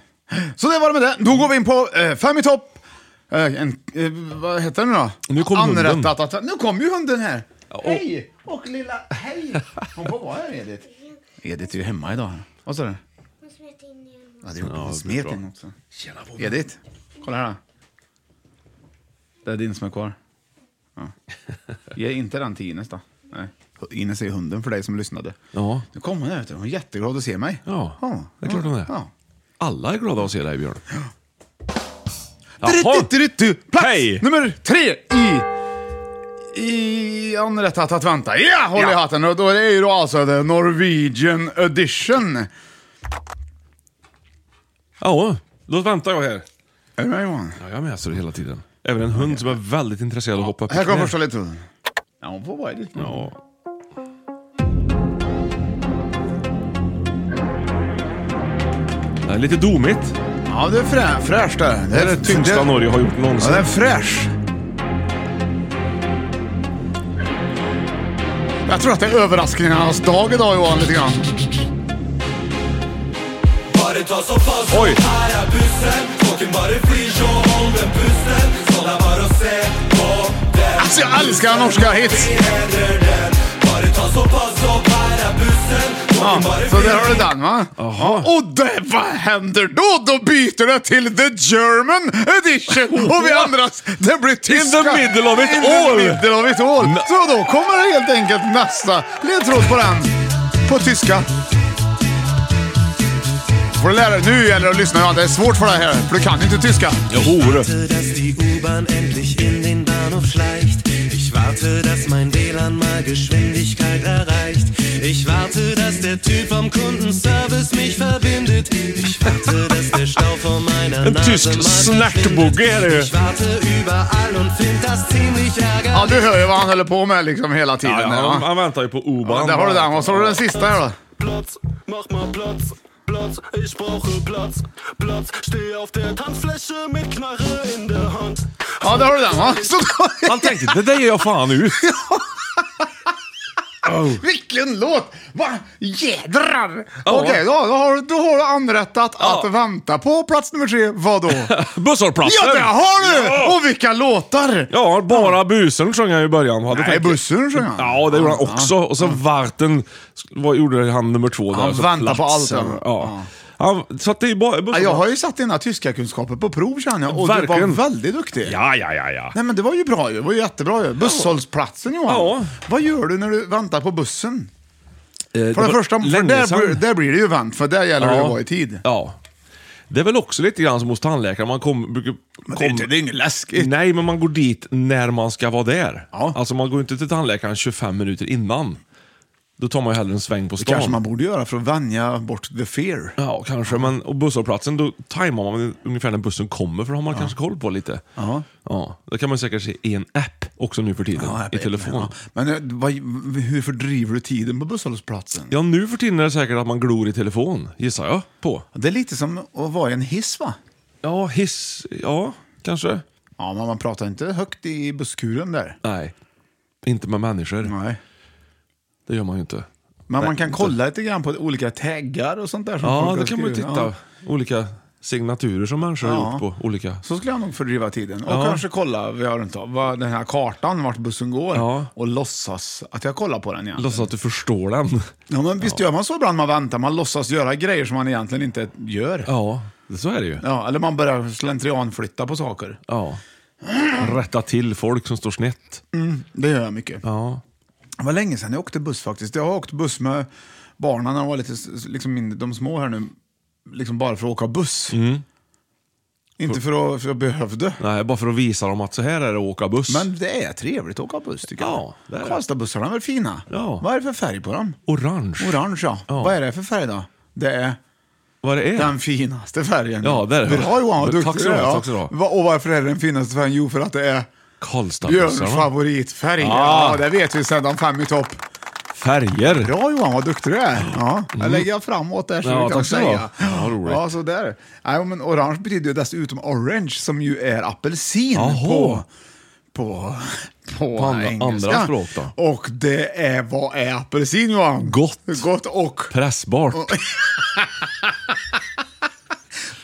[SPEAKER 2] Så det var det med det. Då går vi in på eh, fem i topp. Eh, en, eh, vad heter den då?
[SPEAKER 1] Nu kom
[SPEAKER 2] Anrättat
[SPEAKER 1] hunden.
[SPEAKER 2] Att, nu kom ju hunden här. Hej! Och lilla... Hej! Hon får vara här, Edith. Edith är ju hemma idag. Vad sa du? Ja, det gjorde hon. Smet in också. Edith, kolla här. då. Det är din som är kvar. Ja. Ge inte den till Ines då. Nej. Ines är ju hunden för dig som lyssnade.
[SPEAKER 1] Ja.
[SPEAKER 2] Nu kom hon här, vet du. hon är jätteglad att se mig.
[SPEAKER 1] Ja, det är klart hon är.
[SPEAKER 2] Ja.
[SPEAKER 1] Alla är glada att se dig, Björn.
[SPEAKER 2] Jaha. Plats
[SPEAKER 1] Hej!
[SPEAKER 2] nummer tre i... I anrättat att vänta. Ja, håll i hatten. Och då är det ju då alltså the Norwegian edition.
[SPEAKER 1] Ja, då väntar jag här.
[SPEAKER 2] Är du med Johan?
[SPEAKER 1] Ja, jag är med så hela tiden. Även en hund som är väldigt intresserad av att hoppa upp i
[SPEAKER 2] Här kommer
[SPEAKER 1] knä.
[SPEAKER 2] första ledtråden. Ja, hon får vara i ditt
[SPEAKER 1] Ja. Det är lite domigt.
[SPEAKER 2] Ja, det är frä, fräscht det.
[SPEAKER 1] Det är det tyngsta Norge har gjort
[SPEAKER 2] Ja,
[SPEAKER 1] någonsin.
[SPEAKER 2] den är fräsch. Jag tror att det är överraskningarnas dag idag Johan, lite grann.
[SPEAKER 1] Oj!
[SPEAKER 2] Alltså jag älskar norska hits. Ja, så där har du den va?
[SPEAKER 1] Jaha.
[SPEAKER 2] Och det, vad händer då? Då byter det till the German
[SPEAKER 1] <laughs>
[SPEAKER 2] edition och vi andra, det blir tyska.
[SPEAKER 1] the middle of it
[SPEAKER 2] In the
[SPEAKER 1] all.
[SPEAKER 2] middle of it all. Så då kommer det helt enkelt nästa ledtråd på den. På tyska. Får du lära dig, nu gäller det att lyssna Johan, det är svårt för dig här, för du kan ju inte tyska.
[SPEAKER 1] Ja, hore.
[SPEAKER 9] dass die U-Bahn endlich in den Bahnhof schleicht. Ich warte, dass mein WLAN mal Geschwindigkeit erreicht. Ich warte, dass der Typ vom Kundenservice mich verbindet. Ich warte, dass der Stau vor meiner
[SPEAKER 1] En
[SPEAKER 9] Nase
[SPEAKER 1] tysk eh.
[SPEAKER 9] mal
[SPEAKER 1] snackbogey är det ju.
[SPEAKER 9] verschwindet. Ich warte überall und find das ziemlich ärgerlich.
[SPEAKER 2] Ja, du hör ju vad han håller på med liksom hela tiden.
[SPEAKER 1] Ja, ja,
[SPEAKER 2] där, va?
[SPEAKER 1] han, han väntar ju på
[SPEAKER 2] Ja,
[SPEAKER 1] oban.
[SPEAKER 2] där har du den. Och så har du den sista här då.
[SPEAKER 9] Platz, mach mal Platz, Platz, ich brauche Platz, Platz. Steh auf der Tanzfläche mit Knarre in der Hand.
[SPEAKER 2] Ja, där har du den va. Så då,
[SPEAKER 1] Han tänkte, det där ger jag fan
[SPEAKER 2] <laughs>
[SPEAKER 1] ut.
[SPEAKER 2] vilken låt! Va? Jädrar!
[SPEAKER 1] Ja.
[SPEAKER 2] Okej, då, då, har, du- då har du anrättat att vänta på plats nummer tre.
[SPEAKER 1] <laughs>
[SPEAKER 2] Vadå?
[SPEAKER 1] Busshållplatsen!
[SPEAKER 2] ja, det har du!
[SPEAKER 1] Ja.
[SPEAKER 2] Och vilka låtar!
[SPEAKER 1] Ja, bara busen sjöng han ju i början. Hade
[SPEAKER 2] Nej,
[SPEAKER 1] tänkt-
[SPEAKER 2] bussen sjöng han.
[SPEAKER 1] Ja, det gjorde han också. Och sen Varten, vad gjorde han nummer två där?
[SPEAKER 2] Han
[SPEAKER 1] alltså
[SPEAKER 2] väntar på
[SPEAKER 1] platsen.
[SPEAKER 2] allt, ja.
[SPEAKER 1] Ja. Han satte i ba- bussen.
[SPEAKER 2] Ja, jag har ju satt dina tyska kunskaper på prov känner jag, och
[SPEAKER 1] Verkligen.
[SPEAKER 2] du var väldigt duktig.
[SPEAKER 1] Ja, ja, ja, ja.
[SPEAKER 2] Nej men det var ju bra ju, det var ju jättebra ju. Busshållplatsen Johan.
[SPEAKER 1] Ja.
[SPEAKER 2] Vad gör du när du väntar på bussen?
[SPEAKER 1] Eh,
[SPEAKER 2] För
[SPEAKER 1] det
[SPEAKER 2] det
[SPEAKER 1] var
[SPEAKER 2] första, för
[SPEAKER 1] länge
[SPEAKER 2] där,
[SPEAKER 1] sedan.
[SPEAKER 2] blir- där blir det ju vänt, för där gäller det att vara i tid.
[SPEAKER 1] Ja. Det är väl också lite grann som hos tandläkaren. Man kom, brukar,
[SPEAKER 2] Men det är inte- det är inget läskigt.
[SPEAKER 1] Nej, men man går dit när man ska vara där. Alltså man går inte till tandläkaren 25 minuter innan. Då tar man ju hellre en sväng på
[SPEAKER 2] Det
[SPEAKER 1] stan.
[SPEAKER 2] kanske man borde göra för att vänja bort the fear.
[SPEAKER 1] Ja, kanske. Men och busshållplatsen, då tajmar man ungefär när bussen kommer, för då har man kanske koll på lite.
[SPEAKER 2] Ja.
[SPEAKER 1] Ja, då kan man säkert se i en app också nu för tiden,
[SPEAKER 2] Ja,
[SPEAKER 1] i telefon. Ja.
[SPEAKER 2] Ja. Men eh, vad, hur fördriver du tiden på busshållplatsen?
[SPEAKER 1] nu för tiden är det säkert att man glor i telefon, gissar jag på.
[SPEAKER 2] Det är lite som att vara i en hiss va?
[SPEAKER 1] Ja, hiss, ja, kanske.
[SPEAKER 2] Ja, men man pratar inte högt i busskuren där.
[SPEAKER 1] Nej, inte med människor.
[SPEAKER 2] Nej.
[SPEAKER 1] Det gör man ju inte.
[SPEAKER 2] Men
[SPEAKER 1] Nej,
[SPEAKER 2] man kan
[SPEAKER 1] inte.
[SPEAKER 2] kolla lite grann på olika taggar och sånt där. Som folk
[SPEAKER 1] Ja,
[SPEAKER 2] har
[SPEAKER 1] det kan man ju
[SPEAKER 2] skrivit.
[SPEAKER 1] titta.
[SPEAKER 2] Ja.
[SPEAKER 1] Olika signaturer som människor har
[SPEAKER 2] Ja.
[SPEAKER 1] gjort på olika...
[SPEAKER 2] Så skulle jag nog fördriva tiden. Och
[SPEAKER 1] Ja.
[SPEAKER 2] kanske kolla vad jag har runt om. Vad- den här kartan, vart bussen går.
[SPEAKER 1] Ja.
[SPEAKER 2] Och låtsas att jag kollar på den igen.
[SPEAKER 1] Låtsas att du förstår den.
[SPEAKER 2] Ja, men visst gör man så ibland man väntar. Man låtsas göra grejer som man egentligen inte gör.
[SPEAKER 1] Ja, så är det ju.
[SPEAKER 2] Ja, eller man börjar slentrianflytta på saker.
[SPEAKER 1] Ja. Rätta till folk som står snett.
[SPEAKER 2] Mm, det gör jag mycket.
[SPEAKER 1] Ja.
[SPEAKER 2] Det var länge sedan jag åkte buss faktiskt. Jag har åkt buss med barnen när de var lite s- liksom mindre, de små här nu. Liksom bara för att åka buss.
[SPEAKER 1] Mm.
[SPEAKER 2] Inte för att, för att jag behövde.
[SPEAKER 1] Nej, bara för att visa dem att så här är det att åka buss.
[SPEAKER 2] Men det är trevligt att åka buss tycker
[SPEAKER 1] Ja, det är
[SPEAKER 2] jag.
[SPEAKER 1] det.
[SPEAKER 2] Karlstadbussarna är väl fina?
[SPEAKER 1] Ja.
[SPEAKER 2] Vad är det för färg på dem?
[SPEAKER 1] Orange.
[SPEAKER 2] Orange ja.
[SPEAKER 1] Ja.
[SPEAKER 2] Vad är det för färg då? Det är
[SPEAKER 1] Vad det är?
[SPEAKER 2] den finaste färgen.
[SPEAKER 1] Ja, det är det.
[SPEAKER 2] Bra Johan, vad
[SPEAKER 1] Men
[SPEAKER 2] duktig
[SPEAKER 1] tack så
[SPEAKER 2] du är,
[SPEAKER 1] bra,
[SPEAKER 2] ja.
[SPEAKER 1] tack så bra.
[SPEAKER 2] Va- Och varför är det den finaste färgen? Jo, för att det är Björns
[SPEAKER 1] Karlstadbussarna.
[SPEAKER 2] favoritfärg.
[SPEAKER 1] Ah.
[SPEAKER 2] Ja, det vet vi sedan fem i topp.
[SPEAKER 1] Färger.
[SPEAKER 2] Bra Johan, vad duktig du är. Ja, jag
[SPEAKER 1] Mm.
[SPEAKER 2] lägger jag framåt där så
[SPEAKER 1] Ja,
[SPEAKER 2] du kan
[SPEAKER 1] tack så
[SPEAKER 2] säga.
[SPEAKER 1] bra. Ja, roligt.
[SPEAKER 2] Ja, så där. Nej, men orange betyder ju dessutom orange som ju är apelsin
[SPEAKER 1] Jaha.
[SPEAKER 2] på, på, på,
[SPEAKER 1] På andra-
[SPEAKER 2] engelska.
[SPEAKER 1] andra språk då?
[SPEAKER 2] Och det är, vad är apelsin Johan?
[SPEAKER 1] Gott.
[SPEAKER 2] Gott och...
[SPEAKER 1] Pressbart.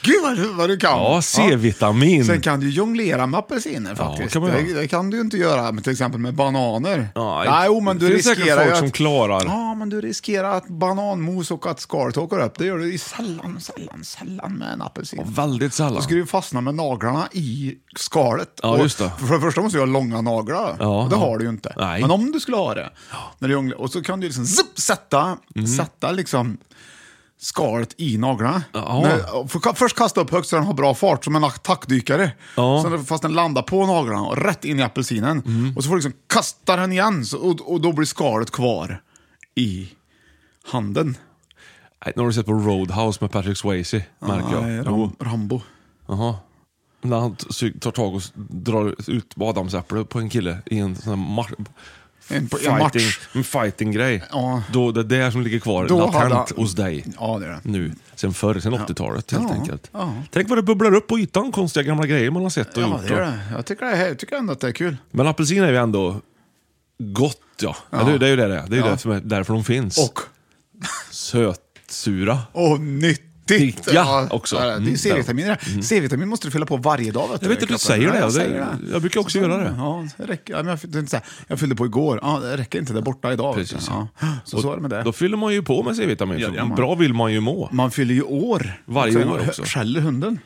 [SPEAKER 2] Gud vad du, vad du kan!
[SPEAKER 1] Ja, C-vitamin.
[SPEAKER 2] Sen kan du jonglera med apelsiner faktiskt.
[SPEAKER 1] kan man
[SPEAKER 2] det,
[SPEAKER 1] göra.
[SPEAKER 2] det kan du ju inte göra med till exempel med bananer.
[SPEAKER 1] Ja,
[SPEAKER 2] Nej, jo, men du
[SPEAKER 1] det finns säkert
[SPEAKER 2] riskerar
[SPEAKER 1] folk
[SPEAKER 2] ju att,
[SPEAKER 1] som klarar.
[SPEAKER 2] Ja, men du riskerar att bananmos och att skalet åker upp. Det gör du i sällan, sällan, sällan med en apelsin.
[SPEAKER 1] Väldigt
[SPEAKER 2] Då
[SPEAKER 1] sällan.
[SPEAKER 2] ska du ju fastna med naglarna i skalet.
[SPEAKER 1] Ja,
[SPEAKER 2] Och
[SPEAKER 1] just det.
[SPEAKER 2] För det första måste du ha långa naglar.
[SPEAKER 1] Ja,
[SPEAKER 2] och det
[SPEAKER 1] ja.
[SPEAKER 2] har du ju inte.
[SPEAKER 1] Nej.
[SPEAKER 2] Men om du skulle ha det. När du jonglar, och så kan du liksom zip, sätta,
[SPEAKER 1] Mhm.
[SPEAKER 2] sätta liksom skalet i naglarna.
[SPEAKER 1] Ja.
[SPEAKER 2] När- för, först kasta upp högt så den har bra fart, som en attackdykare.
[SPEAKER 1] Ja. Mhm.
[SPEAKER 2] Sen, fast den landar på naglarna och rätt in i apelsinen. Och så får du liksom kasta den igen så, och, och då blir skalet kvar i handen.
[SPEAKER 1] Nej, Nu har du sett på Roadhouse med Patrick Swayze, märker
[SPEAKER 2] Nej,
[SPEAKER 1] jag.
[SPEAKER 2] Ah, Ram, Rambo.
[SPEAKER 1] Jaha. När han t- sy- tar tag och s- drar ut badamsäpple på en kille i en sån här mar-
[SPEAKER 2] En- på- i en match.
[SPEAKER 1] fighting, en fighting-grej.
[SPEAKER 2] Ja.
[SPEAKER 1] Då det är där som ligger kvar
[SPEAKER 2] Då hade
[SPEAKER 1] latent
[SPEAKER 2] han-
[SPEAKER 1] hos dig.
[SPEAKER 2] Ja, det är det.
[SPEAKER 1] Nu, sen förr, sen 80-talet helt
[SPEAKER 2] Ja,
[SPEAKER 1] enkelt.
[SPEAKER 2] ja.
[SPEAKER 1] Tänk vad det bubblar upp på ytan, konstiga gamla grejer man har sett och
[SPEAKER 2] Ja,
[SPEAKER 1] gjort.
[SPEAKER 2] det är
[SPEAKER 1] och-
[SPEAKER 2] det. Jag tycker, det är, jag tycker ändå att det är kul.
[SPEAKER 1] Men apelsin är ju ändå gott ja.
[SPEAKER 2] Ja.
[SPEAKER 1] Eller hur? Det är ju det det är. Det är ju
[SPEAKER 2] Ja.
[SPEAKER 1] det som är därför de finns.
[SPEAKER 2] Och,
[SPEAKER 1] Sötsura.
[SPEAKER 2] och nyttigt.
[SPEAKER 1] Ja, också.
[SPEAKER 2] Det är
[SPEAKER 1] Mm,
[SPEAKER 2] ju C-vitamin i det. C-vitamin måste du fylla på varje dag. Vet
[SPEAKER 1] Jag vet att du
[SPEAKER 2] i kroppen.
[SPEAKER 1] säger det.
[SPEAKER 2] Ja,
[SPEAKER 1] och
[SPEAKER 2] jag, säger
[SPEAKER 1] det
[SPEAKER 2] det.
[SPEAKER 1] jag brukar också göra det.
[SPEAKER 2] Ja, det räcker. Ja, men jag, fyllde inte så här, jag fyllde på igår. Ja, det räcker inte. Det är borta idag. vet du.
[SPEAKER 1] Precis,
[SPEAKER 2] Ja. Så,
[SPEAKER 1] Och
[SPEAKER 2] så är det med det.
[SPEAKER 1] Då fyller man ju på med C-vitamin.
[SPEAKER 2] Ja,
[SPEAKER 1] för
[SPEAKER 2] det gör man.
[SPEAKER 1] bra vill man ju må.
[SPEAKER 2] Man fyller ju år.
[SPEAKER 1] Varje
[SPEAKER 2] Sen
[SPEAKER 1] år också.
[SPEAKER 2] Skäller hunden?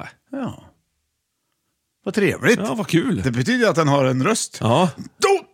[SPEAKER 1] Nej.
[SPEAKER 2] Ja. Vad trevligt.
[SPEAKER 1] Ja, vad kul.
[SPEAKER 2] Det betyder ju att den har en röst.
[SPEAKER 1] Ja.
[SPEAKER 2] Då!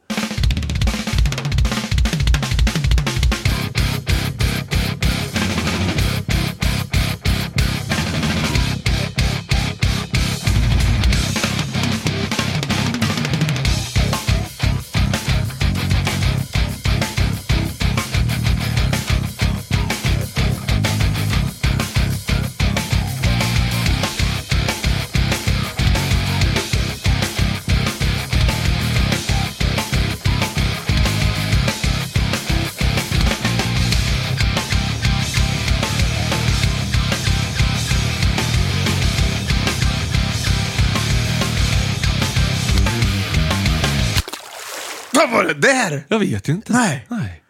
[SPEAKER 2] Vad var det där?
[SPEAKER 1] Jag vet ju inte.
[SPEAKER 2] Nej.
[SPEAKER 1] Nej.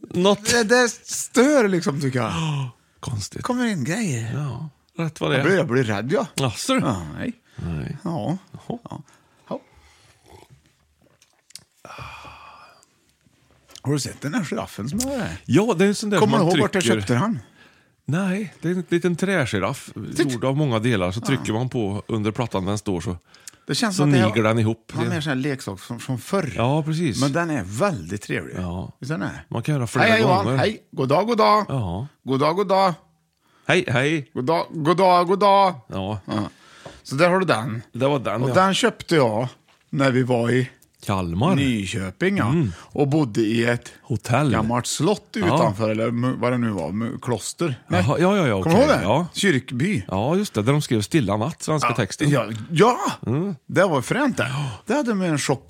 [SPEAKER 1] Något
[SPEAKER 2] Det, det stör liksom tycker jag.
[SPEAKER 1] konstigt.
[SPEAKER 2] kommer in grejer.
[SPEAKER 1] Ja, rätt vad det
[SPEAKER 2] Jag blir,
[SPEAKER 1] är.
[SPEAKER 2] jag blir rädd ja.
[SPEAKER 1] Jaså du?
[SPEAKER 2] Ja, Nej.
[SPEAKER 1] Nej.
[SPEAKER 2] Ja. Ja. Ja. Har du sett den här giraffen som är där?
[SPEAKER 1] Ja, det är en sån där
[SPEAKER 2] Kommer du
[SPEAKER 1] man
[SPEAKER 2] ihåg vart jag
[SPEAKER 1] trycker-
[SPEAKER 2] köpte den?
[SPEAKER 1] Nej, det är en liten trägiraff gjord av många delar. Så trycker man på under plattan den står så,
[SPEAKER 2] Det känns
[SPEAKER 1] så
[SPEAKER 2] som att Alltså, det
[SPEAKER 1] niger den ihop.
[SPEAKER 2] Han
[SPEAKER 1] Det-
[SPEAKER 2] är en sån här leksak från, från förr.
[SPEAKER 1] Ja, precis.
[SPEAKER 2] Men den är väldigt trevlig.
[SPEAKER 1] Ja.
[SPEAKER 2] Visst är den det?
[SPEAKER 1] Man kan göra flera
[SPEAKER 2] Hej, hej
[SPEAKER 1] gånger.
[SPEAKER 2] Johan. Hej. God dag, god dag.
[SPEAKER 1] Ja.
[SPEAKER 2] God dag, god dag.
[SPEAKER 1] Hej, hej.
[SPEAKER 2] God dag, god dag, god dag.
[SPEAKER 1] Ja.
[SPEAKER 2] Ja. Så där har du den.
[SPEAKER 1] Det var den,
[SPEAKER 2] Och
[SPEAKER 1] ja.
[SPEAKER 2] den köpte jag när vi var i
[SPEAKER 1] Kalmar.
[SPEAKER 2] Nyköping ja.
[SPEAKER 1] Mm.
[SPEAKER 2] och bodde i ett
[SPEAKER 1] Hotell.
[SPEAKER 2] gammalt slott
[SPEAKER 1] Ja.
[SPEAKER 2] utanför, eller m- vad det nu var, m- kloster. Nej.
[SPEAKER 1] Jaha, ja, ja, ja.
[SPEAKER 2] Kommer du ihåg
[SPEAKER 1] okej.
[SPEAKER 2] det?
[SPEAKER 1] Ja.
[SPEAKER 2] Kyrkby.
[SPEAKER 1] Ja, just det. Där de skrev Stilla natt, svenska texten.
[SPEAKER 2] Ja, ja.
[SPEAKER 1] Mm.
[SPEAKER 2] det var fränt det. Det hade med en shop.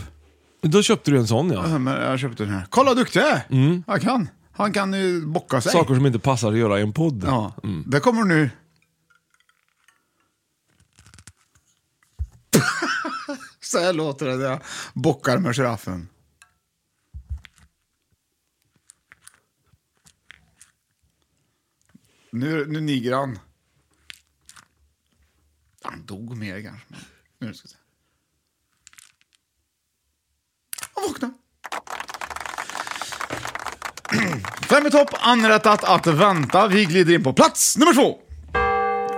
[SPEAKER 1] Då köpte du en sån, ja.
[SPEAKER 2] Ja, men Jag köpte den här. Kolla vad duktig jag är! Jag kan. Han kan ju bocka sig.
[SPEAKER 1] Mm. Saker som inte passar att göra i en podd.
[SPEAKER 2] Ja. Det kommer nu. <laughs> Så här låter det när jag bockar med giraffen. Nu, nu niger han. Han dog mer kanske. men Nu ska vi se. Han vaknade. Fem i topp, anrättat att vänta. Vi glider in på plats nummer två.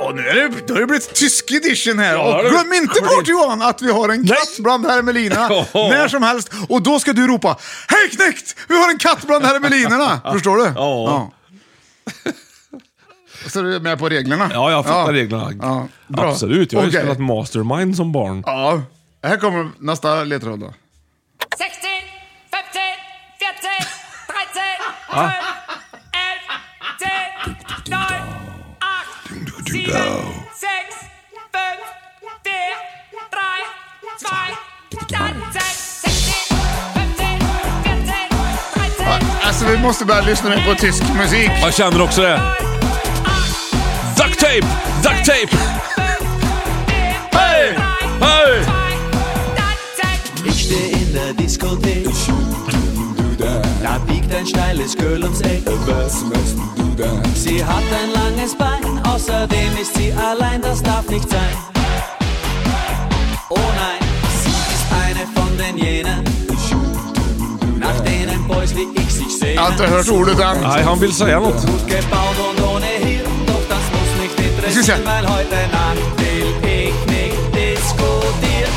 [SPEAKER 2] Och nu är det, då har det blivit tysk edition här.
[SPEAKER 1] Ja,
[SPEAKER 2] och
[SPEAKER 1] det-
[SPEAKER 2] glöm inte bort Johan att vi har en katt bland hermelinerna
[SPEAKER 1] <laughs> Ja.
[SPEAKER 2] när som helst. Och då ska du ropa Hej knekt! Vi har en katt bland hermelinerna! Förstår du? Ja. Så du är med på reglerna?
[SPEAKER 1] Ja, jag fattar reglerna.
[SPEAKER 2] Ja, bra.
[SPEAKER 1] Absolut. Jag har ju
[SPEAKER 2] Okej.
[SPEAKER 1] spelat Mastermind som barn.
[SPEAKER 2] Ja, här kommer nästa ledtråd då.
[SPEAKER 10] 16, 15, 14, 13, 12,
[SPEAKER 2] Ah.
[SPEAKER 10] 11, 10, 9, 8, 7, 6, 5, 4, 3, 2, 1, 16, 15, 14, 13,
[SPEAKER 2] Alltså vi måste börja lyssna mer på tysk musik.
[SPEAKER 1] Jag känner också det. Duct tape! Duct tape!
[SPEAKER 2] Hey!
[SPEAKER 1] Hey!
[SPEAKER 11] Ich steh in der Diskothek. Da biegt ein steiles Girl ums Eck. um Was machst du da? Sie hat ein langes Bein, außerdem ist sie allein, das darf nicht sein. Oh nein, sie ist eine von den jenen, nach denen Boys wie ich sich sehnen.
[SPEAKER 2] Jag har inte hört ordet än.
[SPEAKER 1] Nej, han vill säga något.
[SPEAKER 11] Gut gebaut und ohne Hirn, doch das muss nicht interessieren, weil heute Nacht will ich nicht diskutieren.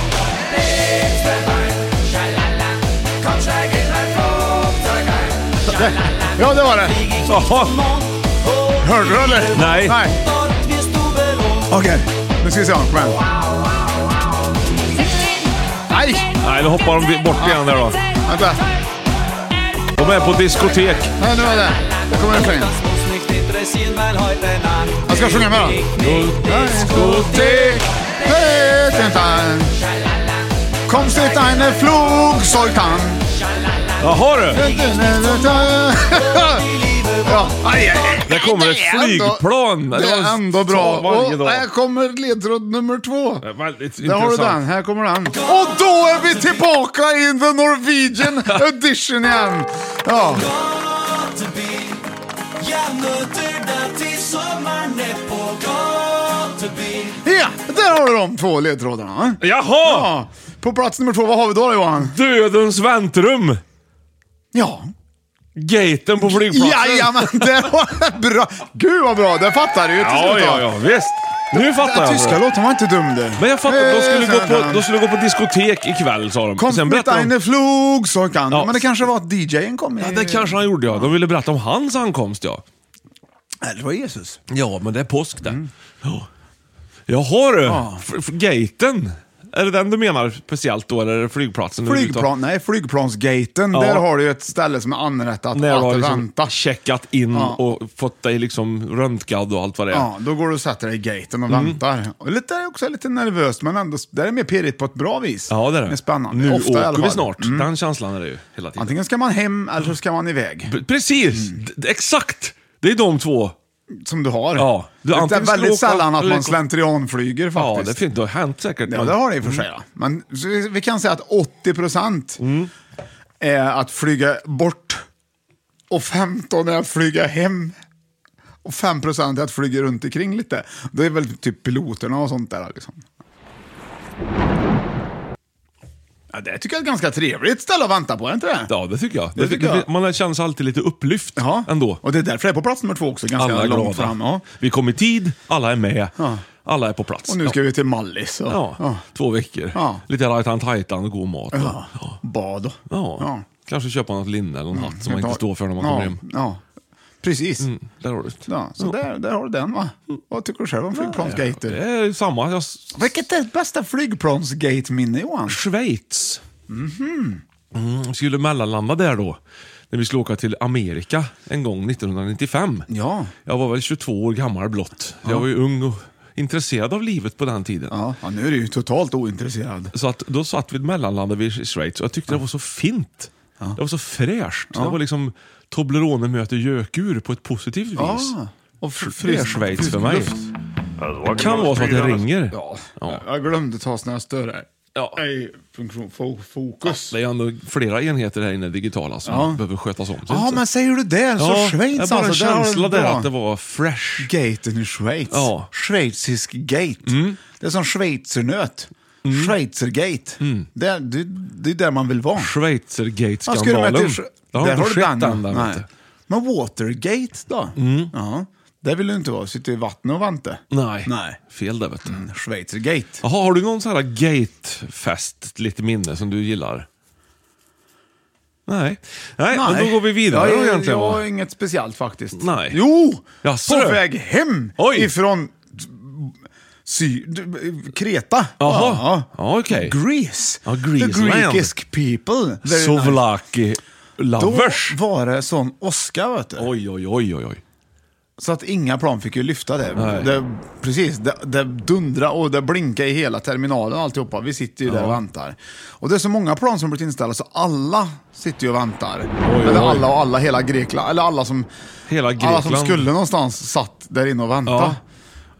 [SPEAKER 11] Leg's mir ein, schalala, komm, steig in ein Flugzeug ein.
[SPEAKER 2] Ja, det var det. Hörde du eller?
[SPEAKER 1] Nej.
[SPEAKER 2] Nej.
[SPEAKER 11] Dort wirst du belohnt.
[SPEAKER 2] Okej, nu ska vi se. Kom igen. Nej!
[SPEAKER 1] Nej, nu hoppar de bort igen där då.
[SPEAKER 2] Vänta.
[SPEAKER 1] De är på diskotek.
[SPEAKER 2] Nej, nu är det. Det kommer refrängen.
[SPEAKER 11] Das muss nicht interessieren, weil heute Nacht
[SPEAKER 2] Jag ska sjunga med då. Diskotek. Hey, tintan. Kom sitt eine Flugzeug an.
[SPEAKER 1] Jaha du!
[SPEAKER 2] Ja, aj, aj.
[SPEAKER 1] Där kommer ett
[SPEAKER 2] Det är ändå-
[SPEAKER 1] flygplan.
[SPEAKER 2] Det är ändå bra.
[SPEAKER 1] Varje
[SPEAKER 2] Och
[SPEAKER 1] dag.
[SPEAKER 2] här kommer ledtråd nummer två.
[SPEAKER 1] Väldigt
[SPEAKER 2] Där har du den,
[SPEAKER 1] intressant.
[SPEAKER 2] här kommer den. Och då är vi tillbaka i the Norwegian edition igen. Ja.
[SPEAKER 11] Jeg møter deg til sommeren ned på gatebyen.
[SPEAKER 2] ja, där har du de två ledtrådarna.
[SPEAKER 1] Jaha!
[SPEAKER 2] Ja. På plats nummer två, vad har vi då Johan?
[SPEAKER 1] Dödens väntrum!
[SPEAKER 2] Ja.
[SPEAKER 1] Gaten på flygplatsen.
[SPEAKER 2] Jajamän, <laughs> det var bra. Gud vad bra, det fattar du ju till
[SPEAKER 1] Ja,
[SPEAKER 2] slut.
[SPEAKER 1] ja, ja, visst. Nu fattar
[SPEAKER 2] Den
[SPEAKER 1] jag.
[SPEAKER 2] tyska
[SPEAKER 1] det.
[SPEAKER 2] låten var inte dum du. Eh,
[SPEAKER 1] Men jag fattar, de skulle, gå på, de skulle gå på diskotek ikväll sa de.
[SPEAKER 2] Kom
[SPEAKER 1] Sen
[SPEAKER 2] mit
[SPEAKER 1] berättade de...
[SPEAKER 2] eine Flug, sa han. Men det kanske var att DJn kom.
[SPEAKER 1] Ja, det kanske han gjorde ja. De ville berätta om hans ankomst ja.
[SPEAKER 2] Eller det var Jesus.
[SPEAKER 1] Ja, men det är påsk det. Ja. Jaha du!
[SPEAKER 2] Mm. Ja.
[SPEAKER 1] F- f- Gaten? Är det den du menar speciellt då, eller är det flygplatsen?
[SPEAKER 2] Flygplan, nej, flygplansgaten. Där har du ju ett ställe som är anrättat
[SPEAKER 1] När du
[SPEAKER 2] att
[SPEAKER 1] har liksom
[SPEAKER 2] vänta.
[SPEAKER 1] checkat in
[SPEAKER 2] Ja.
[SPEAKER 1] och fått dig liksom röntgad och allt vad det är.
[SPEAKER 2] Ja, då går du och sätter dig i gaten och
[SPEAKER 1] Mm.
[SPEAKER 2] väntar. Och lite, det är också lite nervöst, men ändå, det är mer pirrigt på ett bra vis.
[SPEAKER 1] Ja, det är det.
[SPEAKER 2] Det är spännande.
[SPEAKER 1] Nu
[SPEAKER 2] Ofta i alla
[SPEAKER 1] åker vi
[SPEAKER 2] fall.
[SPEAKER 1] snart.
[SPEAKER 2] Mm.
[SPEAKER 1] Den känslan är det ju hela tiden.
[SPEAKER 2] Antingen Mm. ska man hem eller så ska man iväg.
[SPEAKER 1] P- Precis! D- Exakt! Det är de två.
[SPEAKER 2] Som du har.
[SPEAKER 1] Ja. Du,
[SPEAKER 2] det är
[SPEAKER 1] antingen ska
[SPEAKER 2] väldigt
[SPEAKER 1] åka-
[SPEAKER 2] sällan att
[SPEAKER 1] eller-
[SPEAKER 2] man slentrianflyger
[SPEAKER 1] Ja,
[SPEAKER 2] faktiskt.
[SPEAKER 1] det är fint. Det har hänt säkert. Mm.
[SPEAKER 2] Ja,
[SPEAKER 1] men-
[SPEAKER 2] det har det i och för sig. ja. Men så vi, vi kan säga att 80 procent
[SPEAKER 1] Mm.
[SPEAKER 2] är att flyga bort och 15 är att flyga hem. Och 5 procent är att flyga runt omkring lite. Det är väl typ piloterna och sånt där. Liksom. Ja, det tycker jag är ett ganska trevligt ställe att vänta på, är det inte det?
[SPEAKER 1] Ja, det tycker jag.
[SPEAKER 2] Det tycker jag.
[SPEAKER 1] Man känner sig alltid lite upplyft ändå.
[SPEAKER 2] Och det är därför det är på plats nummer två också, ganska
[SPEAKER 1] alla är
[SPEAKER 2] långt
[SPEAKER 1] glada.
[SPEAKER 2] fram. Ja.
[SPEAKER 1] Vi kom i tid, alla är med, alla är på plats.
[SPEAKER 2] Och nu ska vi till Mallis. Och,
[SPEAKER 1] Ja, två veckor.
[SPEAKER 2] Ja.
[SPEAKER 1] Lite rajtan-tajtan och god mat. och-
[SPEAKER 2] Ja. Bad och...
[SPEAKER 1] Ja. Kanske köpa något linne eller något hatt som man inte står för när man
[SPEAKER 2] Mm. ja.
[SPEAKER 1] kommer hem. Mm.
[SPEAKER 2] Ja, precis.
[SPEAKER 1] Där har du det.
[SPEAKER 2] Ja, så Där, där har du den va? Vad tycker du själv om flygplansgate?
[SPEAKER 1] Mm. Det är samma. Jag...
[SPEAKER 2] Vilket är ditt bästa flygplansgate-minne Johan?
[SPEAKER 1] Schweiz. Mhm. Mm, skulle mellanlanda där då. När vi skulle åka till Amerika en gång 1995.
[SPEAKER 2] Ja.
[SPEAKER 1] Jag var väl 22 år gammal blott. Jag var ju ung och intresserad av livet på den tiden.
[SPEAKER 2] Ja, ja nu är du ju totalt ointresserad.
[SPEAKER 1] Så att, då satt vi mellanlandade vi i Schweiz och jag tyckte det var så fint. Det var så fräscht.
[SPEAKER 2] Ja.
[SPEAKER 1] Det var liksom Toblerone möter gökur på ett positivt vis.
[SPEAKER 2] Ja. Och fr-
[SPEAKER 1] Det är Schweiz för mig. Det kan vara så att det ringer.
[SPEAKER 2] Ja. Jag glömde ta snöstöre. här. Ej, funktion, fo- fokus.
[SPEAKER 1] Det är ändå flera enheter här inne digitala som
[SPEAKER 2] Ja.
[SPEAKER 1] behöver skötas om.
[SPEAKER 2] Ja, men säger du det så
[SPEAKER 1] det är
[SPEAKER 2] Schweiz
[SPEAKER 1] bara
[SPEAKER 2] alltså.
[SPEAKER 1] en
[SPEAKER 2] har du
[SPEAKER 1] känsla
[SPEAKER 2] bra.
[SPEAKER 1] där att det var fresh.
[SPEAKER 2] Gaten i Schweiz.
[SPEAKER 1] Ja. Mm.
[SPEAKER 2] Schweizisk gate. Det är som schweizernöt. Schweizergate.
[SPEAKER 1] Mm.
[SPEAKER 2] Det, är- det, det är där man vill vara. Ja, ska du med
[SPEAKER 1] Schweizergate-skandalen.
[SPEAKER 2] till Sch-
[SPEAKER 1] Det har
[SPEAKER 2] där
[SPEAKER 1] inte
[SPEAKER 2] har du
[SPEAKER 1] skett
[SPEAKER 2] den.
[SPEAKER 1] än.
[SPEAKER 2] ja.
[SPEAKER 1] där, vet
[SPEAKER 2] Nej. Men Watergate då? Ja. Där vill du inte vara. Sitta i vattnet och vänta.
[SPEAKER 1] du. Nej.
[SPEAKER 2] Nej. Mm.
[SPEAKER 1] fel där vet du.
[SPEAKER 2] Schweizergate.
[SPEAKER 1] Jaha, har du någon sån här gatefest, lite minne, som du gillar? Nej. Nej, men då går vi vidare då
[SPEAKER 2] jag,
[SPEAKER 1] egentligen.
[SPEAKER 2] Jag
[SPEAKER 1] va?
[SPEAKER 2] har inget speciellt faktiskt.
[SPEAKER 1] Nej.
[SPEAKER 2] Jo!
[SPEAKER 1] Jaså,
[SPEAKER 2] på
[SPEAKER 1] du?
[SPEAKER 2] väg hem
[SPEAKER 1] Oj.
[SPEAKER 2] ifrån sy, d- Kreta.
[SPEAKER 1] Jaha.
[SPEAKER 2] Ja.
[SPEAKER 1] Ja, okej.
[SPEAKER 2] Greece.
[SPEAKER 1] Ja, Greaseland.
[SPEAKER 2] The Greekisk people. Very nice.
[SPEAKER 1] Sovlaki lovers.
[SPEAKER 2] Då var det sån åska vet du.
[SPEAKER 1] Oj, oj, oj, oj, oj.
[SPEAKER 2] Så att inga plan fick ju lyfta det.
[SPEAKER 1] Nej.
[SPEAKER 2] det precis, det, det dundra och det blinkade i hela terminalen och alltihopa. Vi sitter ju där och väntar. Och det är så många plan som blivit inställda så alla sitter ju och väntar. eller
[SPEAKER 1] oj.
[SPEAKER 2] alla och alla, hela Grekland. Eller alla som,
[SPEAKER 1] Hela
[SPEAKER 2] alla
[SPEAKER 1] Grekland.
[SPEAKER 2] som skulle någonstans satt där inne och väntade.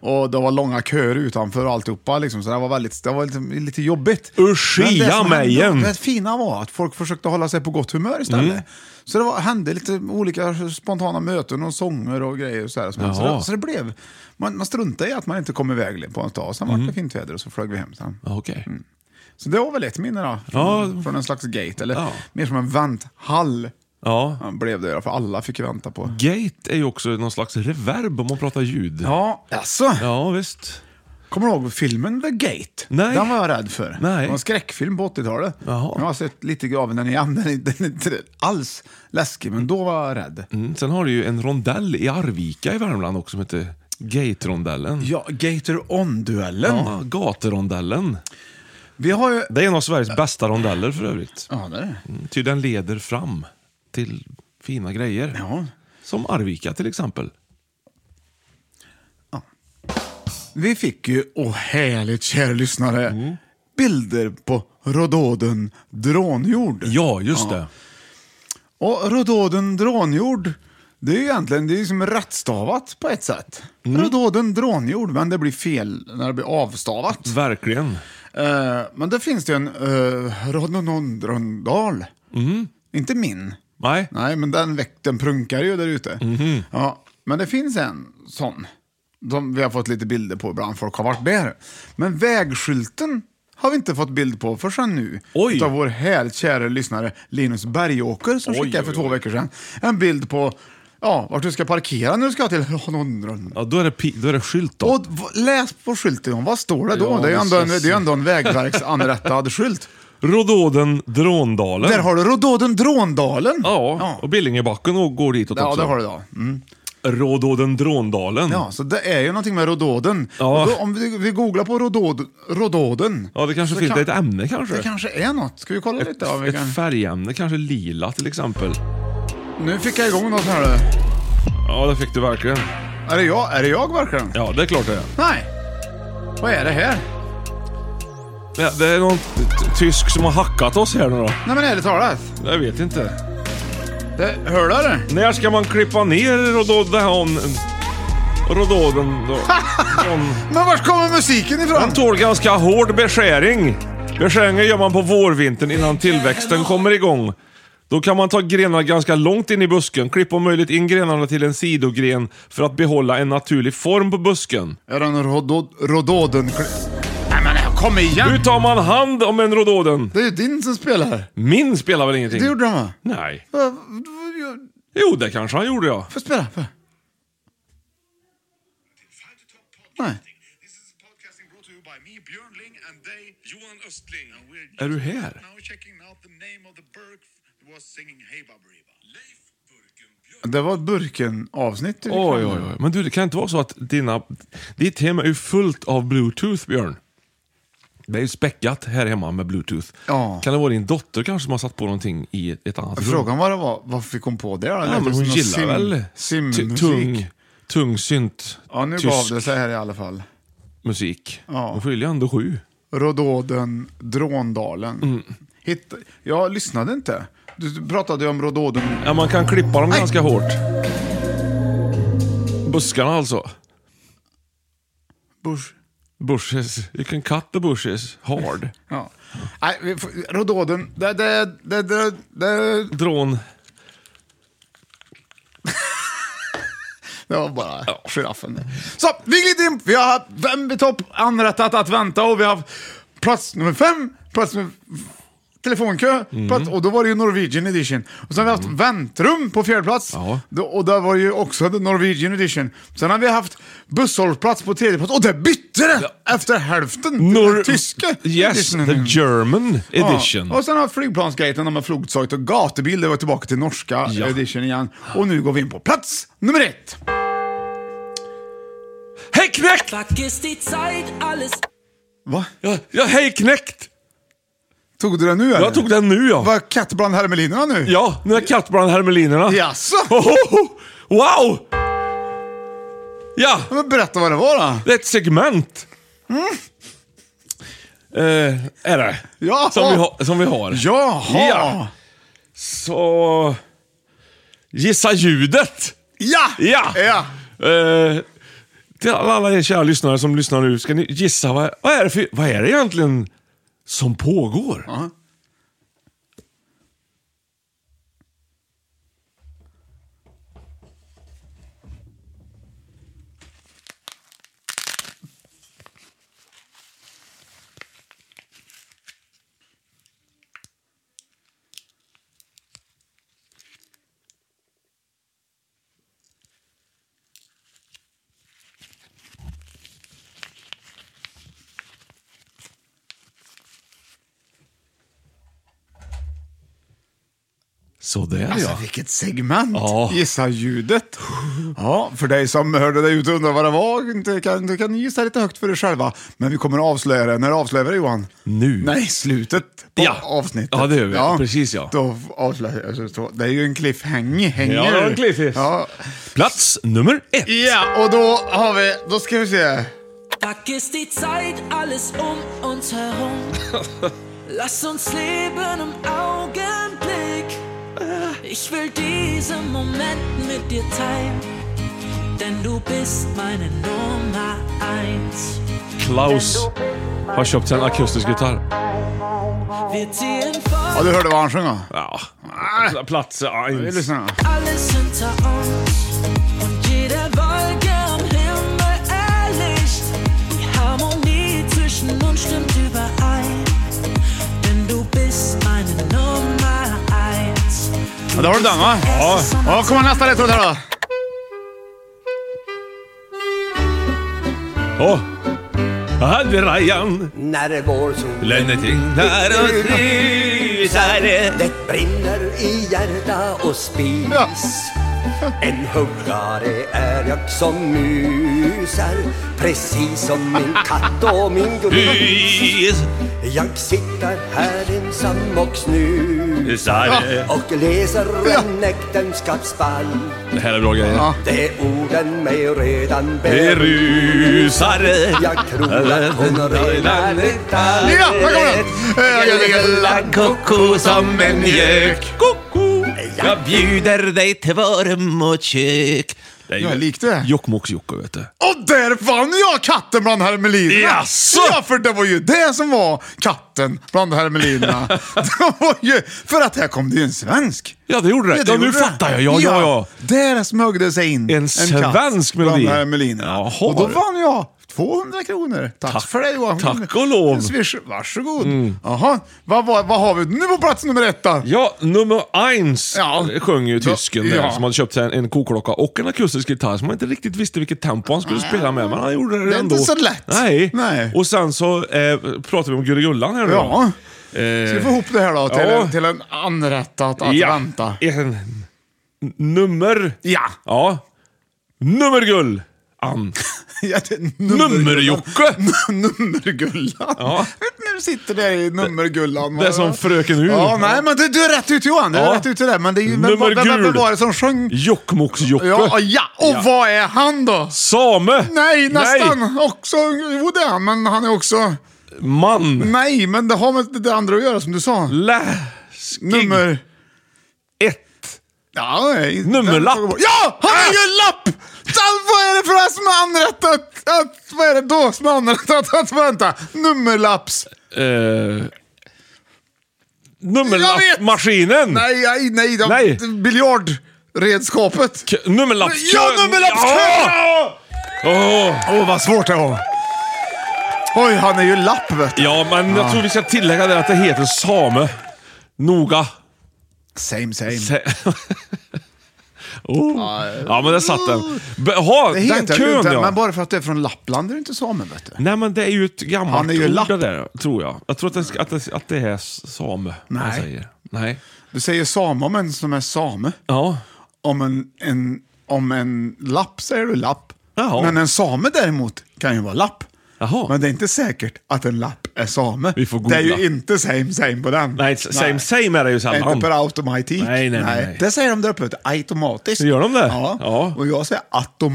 [SPEAKER 2] Och det var långa köer utanför och alltihopa. Liksom, så det var, väldigt, det var lite, lite jobbigt.
[SPEAKER 1] Uschia
[SPEAKER 2] Men det som
[SPEAKER 1] mig igen.
[SPEAKER 2] hände- Det fina var att folk försökte hålla sig på gott humör istället.
[SPEAKER 1] Mm.
[SPEAKER 2] Så det var, hände lite olika spontana möten och sånger och grejer. Och så, här, som hände. så,
[SPEAKER 1] Jaha.
[SPEAKER 2] det, så det blev... Man, man struntade i att man inte kom iväg på en dag. Sen var det fint väder och så flög vi hem sen.
[SPEAKER 1] Mm. Ja, Okej.
[SPEAKER 2] Mm. Så det var väl ett minne då. Från,
[SPEAKER 1] Ja.
[SPEAKER 2] från en slags gate. Eller
[SPEAKER 1] Ja.
[SPEAKER 2] mer som en vänthall.
[SPEAKER 1] Ja.
[SPEAKER 2] Ja, blev det då, för alla fick ju vänta
[SPEAKER 1] Mm.
[SPEAKER 2] på...
[SPEAKER 1] Gate är ju också någon slags reverb om man pratar ljud.
[SPEAKER 2] Ja, alltså.
[SPEAKER 1] Ja, visst.
[SPEAKER 2] Kommer du ihåg filmen The Gate?
[SPEAKER 1] Nej.
[SPEAKER 2] Den var jag rädd för.
[SPEAKER 1] Nej.
[SPEAKER 2] Det var en skräckfilm på 80-talet.
[SPEAKER 1] Jaha.
[SPEAKER 2] Jag har sett lite av den igen. Den är, den är inte alls läskig, men då var jag rädd.
[SPEAKER 1] Mm. Sen har du ju en rondell i Arvika i Värmland också som heter Gate-rondellen.
[SPEAKER 2] Ja, Gator On-duellen.
[SPEAKER 1] Ja, gatorondellen.
[SPEAKER 2] Vi har ju...
[SPEAKER 1] Det är en av Sveriges bästa rondeller för övrigt.
[SPEAKER 2] Ja, det är det.
[SPEAKER 1] Mm, Ty den leder fram till fina grejer.
[SPEAKER 2] Ja.
[SPEAKER 1] Som Arvika till exempel.
[SPEAKER 2] Vi fick ju, åh härligt kära lyssnare, bilder på Rhododen drånjord.
[SPEAKER 1] Ja, just det.
[SPEAKER 2] Och Rhododen drånjord, det är ju egentligen det är liksom rättstavat på ett sätt. Rhododen drånjord, men det blir fel när det blir avstavat.
[SPEAKER 1] Verkligen.
[SPEAKER 2] Eh, men där finns det ju en uh, Rhododendrondal. Mm. Inte min.
[SPEAKER 1] Nej.
[SPEAKER 2] Nej, men den, väck, den prunkar ju där ute.
[SPEAKER 1] Mhm.
[SPEAKER 2] Ja, men det finns en sån. Som vi har fått lite bilder på ibland, folk har varit där. Men vägskylten har vi inte fått bild på förrän nu.
[SPEAKER 1] Oj.
[SPEAKER 2] Utav vår härligt kära lyssnare Linus Bergåker som
[SPEAKER 1] Oj,
[SPEAKER 2] skickade för
[SPEAKER 1] oj,
[SPEAKER 2] två
[SPEAKER 1] oj.
[SPEAKER 2] veckor sedan en bild på ja, vart du ska parkera när du ska till Rhododendron.
[SPEAKER 1] Ja, då är det, pi- då är det skylt då.
[SPEAKER 2] Och v- läs på skylten, Johan. vad står det då?
[SPEAKER 1] Ja,
[SPEAKER 2] det är ju
[SPEAKER 1] det
[SPEAKER 2] ändå, en- det
[SPEAKER 1] känns-
[SPEAKER 2] är ju ändå en
[SPEAKER 1] <laughs>
[SPEAKER 2] vägverksanrättad skylt.
[SPEAKER 1] Rhododen Dråndalen.
[SPEAKER 2] Där har du Rhododen Dråndalen.
[SPEAKER 1] Ja, och Billingebacken och går ditåt
[SPEAKER 2] Ja,
[SPEAKER 1] också.
[SPEAKER 2] där har du då. Mm.
[SPEAKER 1] Rhododen Dråndalen.
[SPEAKER 2] Ja, så det är ju någonting med Rhododen.
[SPEAKER 1] Mm. Ja.
[SPEAKER 2] Och Då, om vi, vi googlar på Rhodod, Rhododen.
[SPEAKER 1] Ja, det kanske
[SPEAKER 2] så
[SPEAKER 1] finns
[SPEAKER 2] kan-
[SPEAKER 1] ett ämne kanske.
[SPEAKER 2] Det kanske är något. Ska vi kolla
[SPEAKER 1] Ett,
[SPEAKER 2] lite? Om vi kan...
[SPEAKER 1] ett färgämne, kanske lila till exempel.
[SPEAKER 2] Nu fick jag igång något här. du.
[SPEAKER 1] Ja, det fick du verkligen.
[SPEAKER 2] Är det jag, är det jag verkligen?
[SPEAKER 1] Ja, det är klart det är.
[SPEAKER 2] Nej. Vad är det här?
[SPEAKER 1] Ja, det är någon t- t- tysk som har hackat oss här nu då.
[SPEAKER 2] Nej men ärligt talat.
[SPEAKER 1] Jag vet inte.
[SPEAKER 2] Det, hör du det?
[SPEAKER 1] När ska man klippa ner Rododen? Rododen då? Hon-
[SPEAKER 2] Men vart kommer musiken ifrån?
[SPEAKER 1] Den tål ganska hård beskäring. Beskäringen gör man på vårvintern innan tillväxten kommer igång. Då kan man ta grenar ganska långt in i busken. Klipp om möjligt in grenarna till en sidogren för att behålla en naturlig form på busken.
[SPEAKER 2] Är det en Rhodod, Rhododen... Nej men det här Kom igen!
[SPEAKER 1] Hur tar man hand om en rododen?
[SPEAKER 2] Det är ju din som spelar.
[SPEAKER 1] Min spelar väl ingenting?
[SPEAKER 2] Det gjorde han va?
[SPEAKER 1] Nej.
[SPEAKER 2] Va-
[SPEAKER 1] Jo, det kanske han gjorde ja.
[SPEAKER 2] Får jag spela? Får jag? Nej.
[SPEAKER 1] Är du här?
[SPEAKER 2] Det var ett burken-avsnitt. tycker jag.
[SPEAKER 1] Oj, oj, oj. Men du, det kan inte vara så att dina, ditt hem är ju fullt av bluetooth, Björn. Det är ju späckat här hemma med bluetooth.
[SPEAKER 2] Ja.
[SPEAKER 1] Kan det vara din dotter kanske som har satt på någonting i ett annat rum?
[SPEAKER 2] Frågan var det var, varför vi kom på det. då? Det
[SPEAKER 1] Ja,
[SPEAKER 2] lät
[SPEAKER 1] men hon
[SPEAKER 2] som någon
[SPEAKER 1] gillar
[SPEAKER 2] sim-
[SPEAKER 1] väl t-
[SPEAKER 2] Simmusik.
[SPEAKER 1] tung, tung synt,
[SPEAKER 2] Ja, nu
[SPEAKER 1] tysk
[SPEAKER 2] gav det sig här i alla fall.
[SPEAKER 1] musik.
[SPEAKER 2] Ja.
[SPEAKER 1] Hon skiljer ändå sju.
[SPEAKER 2] Rhododen, Dråndalen.
[SPEAKER 1] Mm.
[SPEAKER 2] Hitt... Jag lyssnade inte. Du pratade ju om Rhododen.
[SPEAKER 1] Ja, man kan klippa dem ganska hårt. Buskarna alltså.
[SPEAKER 2] Bush.
[SPEAKER 1] Bushes. You can cut the bushes hard.
[SPEAKER 2] Ja. Nej, vi får- Rhododen. Det, det, det, det, det,
[SPEAKER 1] Drån.
[SPEAKER 2] det var bara giraffen. Så, vi glider in. Vi har haft fem i topp, anrättat att vänta och vi har haft plats nummer fem, plats nummer telefonkö,
[SPEAKER 1] Mm.
[SPEAKER 2] plats, och då var det ju Norwegian edition. Och sen har vi haft väntrum på fjärde plats Då- och där var det ju också the Norwegian edition. Sen har vi haft busshållplats på tredje plats och där bytte det efter hälften till den tyska
[SPEAKER 1] Yes,
[SPEAKER 2] editionen.
[SPEAKER 1] the German edition.
[SPEAKER 2] Ja. Och sen har flygplansgaten, de har flugzeug och gatubil, det var tillbaka till norska
[SPEAKER 1] Ja.
[SPEAKER 2] edition igen. Och nu går vi in på plats nummer ett.
[SPEAKER 1] Hej knäckt!
[SPEAKER 10] Zack ist die Zeit, alles
[SPEAKER 2] Va?
[SPEAKER 1] Ja, ja hej knäckt!
[SPEAKER 2] Tog du den nu eller?
[SPEAKER 1] Jag tog den nu ja.
[SPEAKER 2] Var katt bland hermelinerna nu?
[SPEAKER 1] Ja, nu är katt bland hermelinerna.
[SPEAKER 2] Jaså?
[SPEAKER 1] Ohoho! Wow! Ja,
[SPEAKER 2] Men berätta vad det var då.
[SPEAKER 1] det är ett segment.
[SPEAKER 2] Mm.
[SPEAKER 1] Eh, är det.
[SPEAKER 2] Jaha.
[SPEAKER 1] Som vi, ha, som vi har.
[SPEAKER 2] Jaha!
[SPEAKER 1] Ja. Så... Gissa ljudet!
[SPEAKER 2] Ja!
[SPEAKER 1] Ja! Eh, till alla, alla er kära lyssnare som lyssnar nu, ska ni gissa vad, vad, är, det för, vad är det egentligen som pågår?
[SPEAKER 2] Ja.
[SPEAKER 1] Så det är
[SPEAKER 2] Alltså
[SPEAKER 1] ja.
[SPEAKER 2] vilket segment!
[SPEAKER 1] Ja.
[SPEAKER 2] Gissa ljudet. Ja, för dig som hörde det ute och undrar vad det var, inte kan, du kan gissa lite högt för dig själva. Men vi kommer att avslöja det. När avslöjar vi det Johan?
[SPEAKER 1] Nu.
[SPEAKER 2] Nej, slutet på
[SPEAKER 1] Ja.
[SPEAKER 2] avsnittet.
[SPEAKER 1] Ja, det gör vi. Precis, ja.
[SPEAKER 2] Då avslöjar jag. alltså, så- så- Det är ju en cliffhanger.
[SPEAKER 1] Ja, det var en cliffis.
[SPEAKER 2] Ja.
[SPEAKER 1] Plats nummer ett.
[SPEAKER 2] ja, och då har vi, då ska vi se.
[SPEAKER 10] Zack ist die Zeit, alles um uns herum. Lass uns leben im Augenblick. Ich will diesen Moment mit dir teilen, denn du bist meine Nummer eins.
[SPEAKER 1] Klaus har köpt sig en akustisk gitarr.
[SPEAKER 10] Wir ziehen
[SPEAKER 2] Ja, du hörde vad han sjöng va?
[SPEAKER 1] Ja. Plats
[SPEAKER 2] Vi
[SPEAKER 1] eins.
[SPEAKER 2] lyssnar.
[SPEAKER 10] alles hinter uns und jede Wolke am Himmel erlischt. Die Harmonie zwischen uns stimmt überein, denn du bist meine Nummer eins.
[SPEAKER 2] Ja, där har du den va? Ja. Ja, kommer nästa ledtråd här då.
[SPEAKER 1] Åh! Hade Rajan
[SPEAKER 11] När det går så
[SPEAKER 1] lämnat in där och rusar.
[SPEAKER 11] Det brinner i hjärta och spis
[SPEAKER 2] Ja.
[SPEAKER 11] En huggare är jag som musar Precis som min katt och min gris Jag sitter här ensam och snusar Och läser en äktenskapsband
[SPEAKER 1] Det här är bra grejer.
[SPEAKER 11] Det är orden mig redan
[SPEAKER 1] Berusar.
[SPEAKER 11] Jag tror att hon redan är där
[SPEAKER 2] Ja, här kommer den. Eh, jag ligger la-
[SPEAKER 11] koko som en
[SPEAKER 1] Mjölk, koko. Jag bjuder dig till varm och kök. Det är
[SPEAKER 2] Ja,
[SPEAKER 1] ju
[SPEAKER 2] likt det.
[SPEAKER 1] Jokkmokks-Jocke vet du.
[SPEAKER 2] Och där fann jag katten bland hermelinerna!
[SPEAKER 1] Jaså?
[SPEAKER 2] Ja, för det var ju det som var katten
[SPEAKER 1] <laughs>
[SPEAKER 2] bland hermelinerna. det var ju, för att här kom det ju en svensk.
[SPEAKER 1] Ja, det gjorde det. Ja,
[SPEAKER 2] gjorde
[SPEAKER 1] nu
[SPEAKER 2] det.
[SPEAKER 1] fattar jag. Ja, ja, ja.
[SPEAKER 2] Där smög det sig in
[SPEAKER 1] En
[SPEAKER 2] katt
[SPEAKER 1] svensk melodi.
[SPEAKER 2] bland hermelinerna.
[SPEAKER 1] Jaha,
[SPEAKER 2] Och då
[SPEAKER 1] du.
[SPEAKER 2] vann jag 200 kronor. Tack, för det Johan.
[SPEAKER 1] tack och lov. Mm.
[SPEAKER 2] En Swish. Varsågod. Jaha, vad, vad, vad har vi nu på plats nummer ett då?
[SPEAKER 1] Ja, nummer eins sjöng ju tysken där,
[SPEAKER 2] ja.
[SPEAKER 1] som hade köpt sig en, en koklocka och en akustisk gitarr som man inte riktigt visste vilket tempo han skulle spela med. Men han gjorde det,
[SPEAKER 2] Det är
[SPEAKER 1] ändå.
[SPEAKER 2] inte så lätt.
[SPEAKER 1] Nej. Och sen så eh, pratar vi om Gulligullan här nu.
[SPEAKER 2] Ja.
[SPEAKER 1] då. Eh,
[SPEAKER 2] Ska vi få ihop det här då till,
[SPEAKER 1] ja.
[SPEAKER 2] en, till en anrättat att
[SPEAKER 1] ja.
[SPEAKER 2] vänta?
[SPEAKER 1] En, n- nummer.
[SPEAKER 2] Ja.
[SPEAKER 1] Ja. Nummergull. Ann.
[SPEAKER 2] Ja, det-
[SPEAKER 1] Nummerjocke.
[SPEAKER 2] Nummergullan.
[SPEAKER 1] Ja.
[SPEAKER 2] Nu sitter där i nummergullan.
[SPEAKER 1] Det är som fröken Ur.
[SPEAKER 2] Ja, nej, men du, du är rätt ute Johan. Du är
[SPEAKER 1] Ja.
[SPEAKER 2] rätt ute där. Men det är ju... Men, vad- vem, vem,
[SPEAKER 1] Nummergul.
[SPEAKER 2] vem var det som sjöng?
[SPEAKER 1] Jokkmokks-Jocke.
[SPEAKER 2] Ja, ah, ja. Och vad är han då?
[SPEAKER 1] Same.
[SPEAKER 2] Nej, nästan.
[SPEAKER 1] Nej.
[SPEAKER 2] Också, jo det är han, men han är också...
[SPEAKER 1] Man.
[SPEAKER 2] Nej, men det har med det andra att göra som du sa.
[SPEAKER 1] Läskig.
[SPEAKER 2] Nummer...
[SPEAKER 1] Ett.
[SPEAKER 2] Ja, nej.
[SPEAKER 1] Nummerlapp. Äh.
[SPEAKER 2] Ja! Han är ju en lapp! Allt, vad är det för det som är anrättat? Att, vad är det då som är anrättat? Att, vänta. Nummerlapps...
[SPEAKER 1] Eh,
[SPEAKER 2] Jag vet!
[SPEAKER 1] nummerlappmaskinen.
[SPEAKER 2] Nej, nej, nej. De,
[SPEAKER 1] Nej.
[SPEAKER 2] Biljardredskapet.
[SPEAKER 1] K- nummerlapps-
[SPEAKER 2] Ja, nummerlappskön!
[SPEAKER 1] Ja! Åh.
[SPEAKER 2] Åh, vad svårt det var. Oj, han är ju lapp vet du.
[SPEAKER 1] Ja, men jag tror vi ska tillägga det att det heter same. Noga.
[SPEAKER 2] Same, same.
[SPEAKER 1] Se- <laughs> oh. Ja, men där satt den. Be- ha,
[SPEAKER 2] eh. Det
[SPEAKER 1] den
[SPEAKER 2] heter det ju
[SPEAKER 1] kön
[SPEAKER 2] inte,
[SPEAKER 1] ja.
[SPEAKER 2] men bara för att det är från Lappland är det inte samen vet du.
[SPEAKER 1] Nej, men det är ju ett gammalt
[SPEAKER 2] Han är ju
[SPEAKER 1] ord
[SPEAKER 2] lapp.
[SPEAKER 1] det där, tror jag. Jag tror att det, ska- att det, att det är same man
[SPEAKER 2] Nej.
[SPEAKER 1] säger. Nej.
[SPEAKER 2] Du säger same om en som är same.
[SPEAKER 1] Ja.
[SPEAKER 2] Om en, en, om en lapp säger du lapp.
[SPEAKER 1] Jaha.
[SPEAKER 2] Men en same däremot kan ju vara lapp.
[SPEAKER 1] Jaha.
[SPEAKER 2] Men det är inte säkert att en lapp är same.
[SPEAKER 1] Vi får
[SPEAKER 2] det är ju
[SPEAKER 1] googla.
[SPEAKER 2] inte same same på den.
[SPEAKER 1] Nej, same same är det ju
[SPEAKER 2] Det är
[SPEAKER 1] sällan.
[SPEAKER 2] Inte per automatik.
[SPEAKER 1] Nej, nej, nej.
[SPEAKER 2] Det säger de där uppe, vet du, automatiskt.
[SPEAKER 1] Gör de det?
[SPEAKER 2] Ja.
[SPEAKER 1] Ja.
[SPEAKER 2] Och jag säger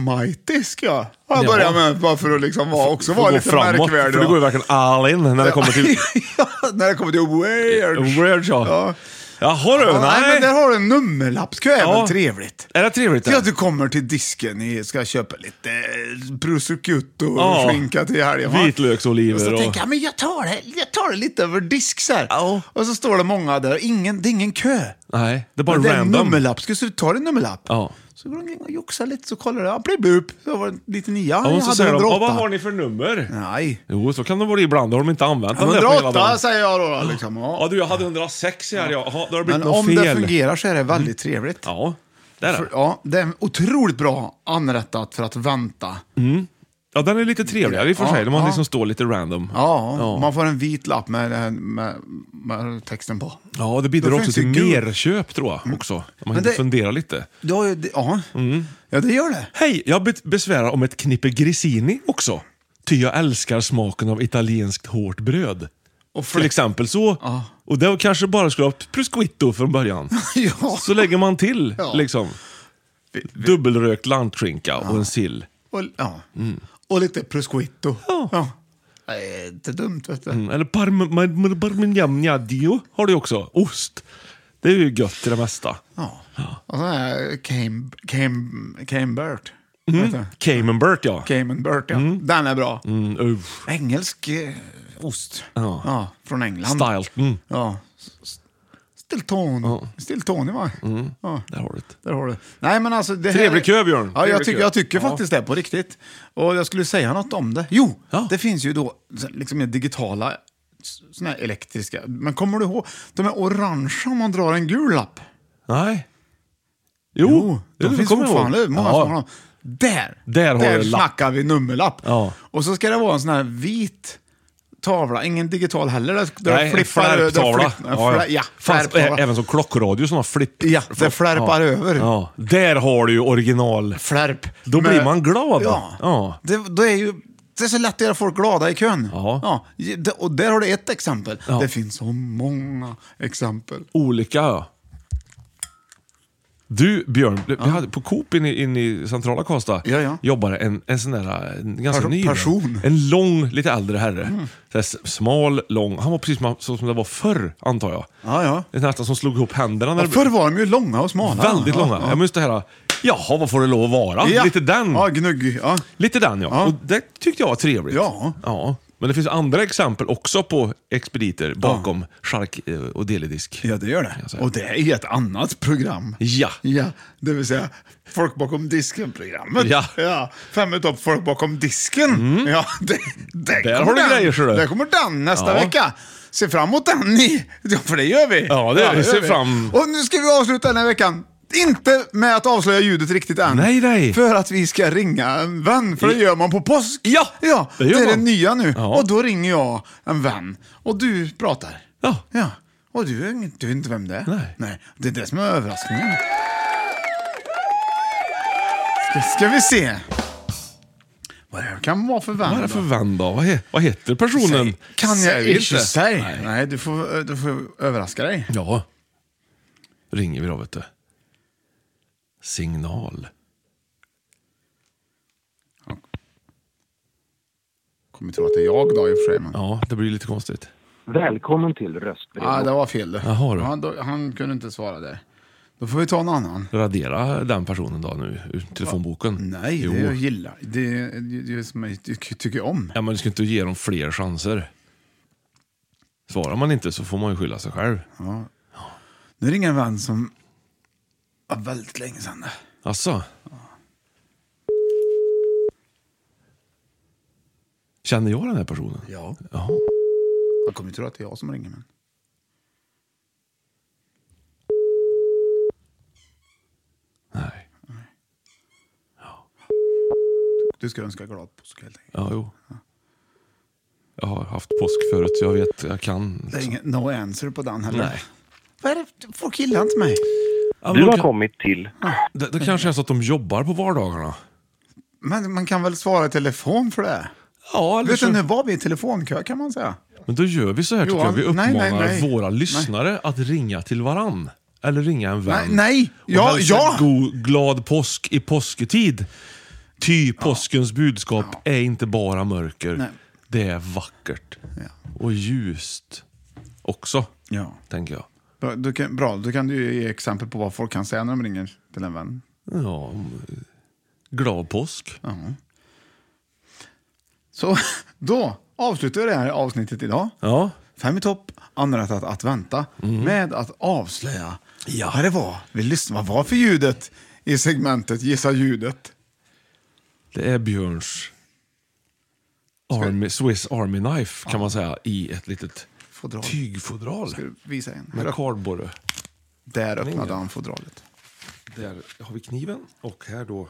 [SPEAKER 2] automatisk, ja. Har jag
[SPEAKER 1] Ja.
[SPEAKER 2] börjat med bara för att liksom vara, också
[SPEAKER 1] Får
[SPEAKER 2] vara
[SPEAKER 1] gå
[SPEAKER 2] lite
[SPEAKER 1] framåt,
[SPEAKER 2] märkvärdig.
[SPEAKER 1] För det
[SPEAKER 2] då.
[SPEAKER 1] går ju verkligen all in när det kommer till...
[SPEAKER 2] ja, när det kommer till <laughs> weird.
[SPEAKER 1] Weird ja.
[SPEAKER 2] Ja.
[SPEAKER 1] Jaha du,
[SPEAKER 2] Ja, nej. men där
[SPEAKER 1] nej.
[SPEAKER 2] har du en nummerlappskö, det är
[SPEAKER 1] Ja.
[SPEAKER 2] väl trevligt?
[SPEAKER 1] Är det trevligt? det?
[SPEAKER 2] Ja, du kommer till disken, ni ska köpa lite eh, prosciutto och
[SPEAKER 1] Ja.
[SPEAKER 2] skinka till helgen. va?
[SPEAKER 1] Vitlöksoliver
[SPEAKER 2] Och så
[SPEAKER 1] och-
[SPEAKER 2] tänker jag, men jag tar det, jag tar det lite över disk så här. Och så står det många där, ingen, det är ingen kö.
[SPEAKER 1] Nej, det är bara
[SPEAKER 2] Men det är en
[SPEAKER 1] random.
[SPEAKER 2] nummerlapp, ska du ta din nummerlapp?
[SPEAKER 1] Ja.
[SPEAKER 2] Så går de omkring och joxar lite, så kollar de, ja, blibup, så var det lite nia,
[SPEAKER 1] Ja,
[SPEAKER 2] jag
[SPEAKER 1] och så
[SPEAKER 2] hade
[SPEAKER 1] säger de, "Ja,
[SPEAKER 2] 108.
[SPEAKER 1] vad har ni för nummer?
[SPEAKER 2] Nej.
[SPEAKER 1] Jo, så kan det vara ibland. Då har de inte använt den där på hela
[SPEAKER 2] 108
[SPEAKER 1] dagen.
[SPEAKER 2] säger jag då. då liksom. ja.
[SPEAKER 1] Ja du, jag hade 106 här. Ja. Jaha, då har det blivit
[SPEAKER 2] Men
[SPEAKER 1] något
[SPEAKER 2] om
[SPEAKER 1] fel.
[SPEAKER 2] det fungerar så är det väldigt trevligt.
[SPEAKER 1] Ja, det är det.
[SPEAKER 2] För, ja, det är otroligt bra anrättat för att vänta.
[SPEAKER 1] Ja, den är lite trevligare i och för
[SPEAKER 2] Ja,
[SPEAKER 1] sig. när man
[SPEAKER 2] ja.
[SPEAKER 1] liksom står lite random.
[SPEAKER 2] Ja,
[SPEAKER 1] Ja.
[SPEAKER 2] man får en vit lapp med, med, med, med texten på.
[SPEAKER 1] Ja, det bidrar
[SPEAKER 2] Då
[SPEAKER 1] också
[SPEAKER 2] finns
[SPEAKER 1] till
[SPEAKER 2] det ju guld. Mm.
[SPEAKER 1] merköp tror jag också. Om man
[SPEAKER 2] Men
[SPEAKER 1] inte
[SPEAKER 2] det-
[SPEAKER 1] funderar lite.
[SPEAKER 2] Ja, det, ja. ja, det gör det.
[SPEAKER 1] Hej, jag bet- besvärar om ett knippe grissini också. Ty jag älskar smaken av italienskt hårt bröd.
[SPEAKER 2] Och
[SPEAKER 1] Till exempel så. Och det var kanske bara skulle ha prosciutto från
[SPEAKER 2] <laughs>
[SPEAKER 1] början.
[SPEAKER 2] <laughs> Ja.
[SPEAKER 1] Så lägger man till
[SPEAKER 2] Ja.
[SPEAKER 1] liksom dubbelrökt lantskinka och en sill.
[SPEAKER 2] Och, ja. och lite prosciutto. Mm. Ja. Det är inte dumt, vet du.
[SPEAKER 1] Mm, Eller parm- mar- mar- parmigianadio har du också. Ost. Det är ju gött till det mesta.
[SPEAKER 2] Ja. Och så här Came, came, came Bert. Vet du?
[SPEAKER 1] Mm. Camembert ja.
[SPEAKER 2] Cayman Bert, ja. Den är bra.
[SPEAKER 1] Mm, uff.
[SPEAKER 2] Engelsk eh, ost.
[SPEAKER 1] Ja.
[SPEAKER 2] Ja, från England.
[SPEAKER 1] Stilton.
[SPEAKER 2] Ja. Stilton. Stiltoni va? Ja,
[SPEAKER 1] Där har du det.
[SPEAKER 2] där har du. Nej men alltså... Det här-
[SPEAKER 1] Trevlig kö, Björn.
[SPEAKER 2] Ja, jag,
[SPEAKER 1] Trevlig
[SPEAKER 2] tycker,
[SPEAKER 1] kö.
[SPEAKER 2] jag tycker
[SPEAKER 1] Ja.
[SPEAKER 2] faktiskt det på riktigt. Och jag skulle säga något om det. Jo,
[SPEAKER 1] Ja.
[SPEAKER 2] det finns ju då liksom mer digitala, såna här elektriska. Men kommer du ihåg? De är orangea om man drar en gul lapp.
[SPEAKER 1] Nej. Jo,
[SPEAKER 2] de
[SPEAKER 1] det
[SPEAKER 2] finns
[SPEAKER 1] kommer jag ihåg.
[SPEAKER 2] fortfarande. Många som har dem. Där,
[SPEAKER 1] Där har du en lapp.
[SPEAKER 2] snackar vi nummerlapp.
[SPEAKER 1] Ja.
[SPEAKER 2] Och så ska det vara en sån här vit tavla, ingen digital heller. Där där
[SPEAKER 1] Nej, en
[SPEAKER 2] flippar- där
[SPEAKER 1] flärptavla.
[SPEAKER 2] flipp- en flär- Ja,
[SPEAKER 1] Fanns ä-
[SPEAKER 2] flärptavla.
[SPEAKER 1] eh, även som klockradio som har flipp.
[SPEAKER 2] Ja, det flärpar
[SPEAKER 1] ja.
[SPEAKER 2] över.
[SPEAKER 1] Ja. Där har du ju original...
[SPEAKER 2] Flärp.
[SPEAKER 1] Då
[SPEAKER 2] Men-
[SPEAKER 1] blir man glad.
[SPEAKER 2] Ja.
[SPEAKER 1] Ja.
[SPEAKER 2] Det, då är ju, det är så lätt att göra folk glada i kön.
[SPEAKER 1] Ja.
[SPEAKER 2] Ja, det- och där har du ett exempel.
[SPEAKER 1] Ja.
[SPEAKER 2] Det finns så många exempel.
[SPEAKER 1] Olika ja. Du Björn, vi hade, på Coop inne, i- inne i centrala Karlstad
[SPEAKER 2] Ja, ja.
[SPEAKER 1] jobbade en, en sån där, en ganska
[SPEAKER 2] Perso-
[SPEAKER 1] ny man.
[SPEAKER 2] person. Mm.
[SPEAKER 1] En lång, lite äldre herre. Så här, s- smal, lång. Han var precis som- så som det var förr, antar jag.
[SPEAKER 2] Ja, ja.
[SPEAKER 1] Det är Nästan som slog ihop händerna. När
[SPEAKER 2] Ja,
[SPEAKER 1] det-
[SPEAKER 2] förr var de ju långa och smala.
[SPEAKER 1] Väldigt långa. Ja, men just det här, jaha vad får det lov att vara?
[SPEAKER 2] Ja.
[SPEAKER 1] Lite den.
[SPEAKER 2] Ja, gnugg. Ja.
[SPEAKER 1] Lite den ja.
[SPEAKER 2] Ja.
[SPEAKER 1] Och det tyckte jag var trevligt.
[SPEAKER 2] Ja.
[SPEAKER 1] ja. Men det finns andra exempel också på expediter bakom chark eh, och deledisk.
[SPEAKER 2] Ja, det gör det. Och det är ett annat program.
[SPEAKER 1] Ja.
[SPEAKER 2] ja det vill säga Folk bakom disken-programmet.
[SPEAKER 1] Ja. Mm.
[SPEAKER 2] Fem i topp Folk bakom disken. Ja, det,
[SPEAKER 1] Där
[SPEAKER 2] det kommer
[SPEAKER 1] har du
[SPEAKER 2] den.
[SPEAKER 1] grejer, ser du.
[SPEAKER 2] Där kommer den nästa
[SPEAKER 1] Ja.
[SPEAKER 2] vecka. Se fram emot den ni. Ja, för det gör vi.
[SPEAKER 1] Ja, det gör vi. Se
[SPEAKER 2] gör
[SPEAKER 1] fram.
[SPEAKER 2] Och nu ska vi avsluta den här veckan. Inte med att avslöja ljudet riktigt än.
[SPEAKER 1] Nej, nej.
[SPEAKER 2] För att vi ska ringa en vän, för det gör man på påsk. Ja, ja
[SPEAKER 1] det gör
[SPEAKER 2] är det
[SPEAKER 1] man.
[SPEAKER 2] nya nu. Och då ringer jag en vän och du pratar. Ja. ja. Och du, är- du vet inte vem det är. Nej. nej. Det är det som är överraskningen. Ska, ska vi se. Vad det här kan vara för vän
[SPEAKER 1] Vad är det för
[SPEAKER 2] då?
[SPEAKER 1] vän då? Vad, he, vad heter personen?
[SPEAKER 2] Säg, Kan jag
[SPEAKER 1] Säg
[SPEAKER 2] inte
[SPEAKER 1] inte.
[SPEAKER 2] säga? Nej, du, får, du får överraska dig.
[SPEAKER 1] Ja. Ringer vi då, vet du. Signal.
[SPEAKER 2] Kommer tro att det är jag då i och för sig. Men...
[SPEAKER 1] Ja, det blir lite konstigt.
[SPEAKER 12] Välkommen till röstbrev.
[SPEAKER 2] Ah, det var fel det.
[SPEAKER 1] Jaha då.
[SPEAKER 2] Ja, då. Han kunde inte svara där. Då får vi ta en annan.
[SPEAKER 1] Radera den personen då nu ur telefonboken.
[SPEAKER 2] Nej, det jag gillar. Det är det, är som jag ty- tycker om.
[SPEAKER 1] Ja, men du ska inte ge dem fler chanser. Svarar man inte så får man ju skylla sig själv.
[SPEAKER 2] Ja. Nu ringer en vän som var väldigt länge sedan.
[SPEAKER 1] Alltså. Känner jag den här personen?
[SPEAKER 2] Ja.
[SPEAKER 1] Jaha.
[SPEAKER 2] Han kommer ju tro att det är jag som ringer. Men...
[SPEAKER 1] Nej.
[SPEAKER 2] Du ska önska glad påsk helt enkelt.
[SPEAKER 1] Ja, jo. Jag har haft påsk förut, så jag vet, jag kan.
[SPEAKER 2] Det är ingen no answer på den heller.
[SPEAKER 1] Nej.
[SPEAKER 2] Vad är det? Folk gillar inte mig.
[SPEAKER 1] men då kan-
[SPEAKER 12] kommit till...
[SPEAKER 1] Det, det kanske är så att de jobbar på vardagarna.
[SPEAKER 2] Men man kan väl svara i telefon för det?
[SPEAKER 1] Ja, eller
[SPEAKER 2] Vet
[SPEAKER 1] så-
[SPEAKER 2] du, nu var vi i telefonkö kan man säga.
[SPEAKER 1] Men då gör vi så här, tycker jag.
[SPEAKER 2] Johan,
[SPEAKER 1] Vi uppmanar
[SPEAKER 2] nej, nej, nej.
[SPEAKER 1] våra
[SPEAKER 2] Nej.
[SPEAKER 1] lyssnare att ringa till varann. Eller ringa en vän.
[SPEAKER 2] Nej, nej.
[SPEAKER 1] Och
[SPEAKER 2] Ja,
[SPEAKER 1] hälsa
[SPEAKER 2] ja.
[SPEAKER 1] God, glad påsk i påsketid. Ty påskens budskap är inte bara mörker.
[SPEAKER 2] Nej.
[SPEAKER 1] Det är vackert. Och ljust också,
[SPEAKER 2] Ja.
[SPEAKER 1] tänker jag.
[SPEAKER 2] Bra, du kan, bra, då kan du ju ge exempel på vad folk kan säga när de ringer till en vän.
[SPEAKER 1] Ja, eh, glad påsk.
[SPEAKER 2] Så <laughs> då avslutar vi det här avsnittet idag.
[SPEAKER 1] Ja.
[SPEAKER 2] Fem i topp, anrättat att vänta med att avslöja
[SPEAKER 1] Mm. Ja.
[SPEAKER 2] vad det var vi lyssnade Vad var för ljudet i segmentet Gissa ljudet?
[SPEAKER 1] Det är Björns Army, Swiss Army Knife, kan man säga, i ett litet
[SPEAKER 2] Fodral.
[SPEAKER 1] tygfodral.
[SPEAKER 2] Ska du visa en? Här
[SPEAKER 1] Med
[SPEAKER 2] upp-
[SPEAKER 1] kardborre.
[SPEAKER 2] Där öppnade han fodralet.
[SPEAKER 1] Där har vi kniven och här då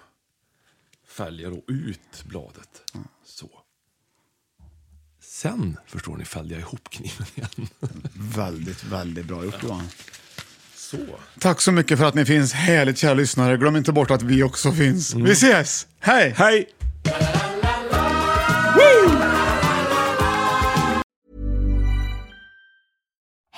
[SPEAKER 1] fäljer då ut bladet. Så. Sen, förstår ni, fällde jag ihop kniven igen.
[SPEAKER 2] Väldigt, väldigt bra gjort Johan.
[SPEAKER 1] Så.
[SPEAKER 2] Tack så mycket för att ni finns, härligt kära lyssnare. Glöm inte bort att vi också finns. Vi ses! Hej!
[SPEAKER 1] Hej!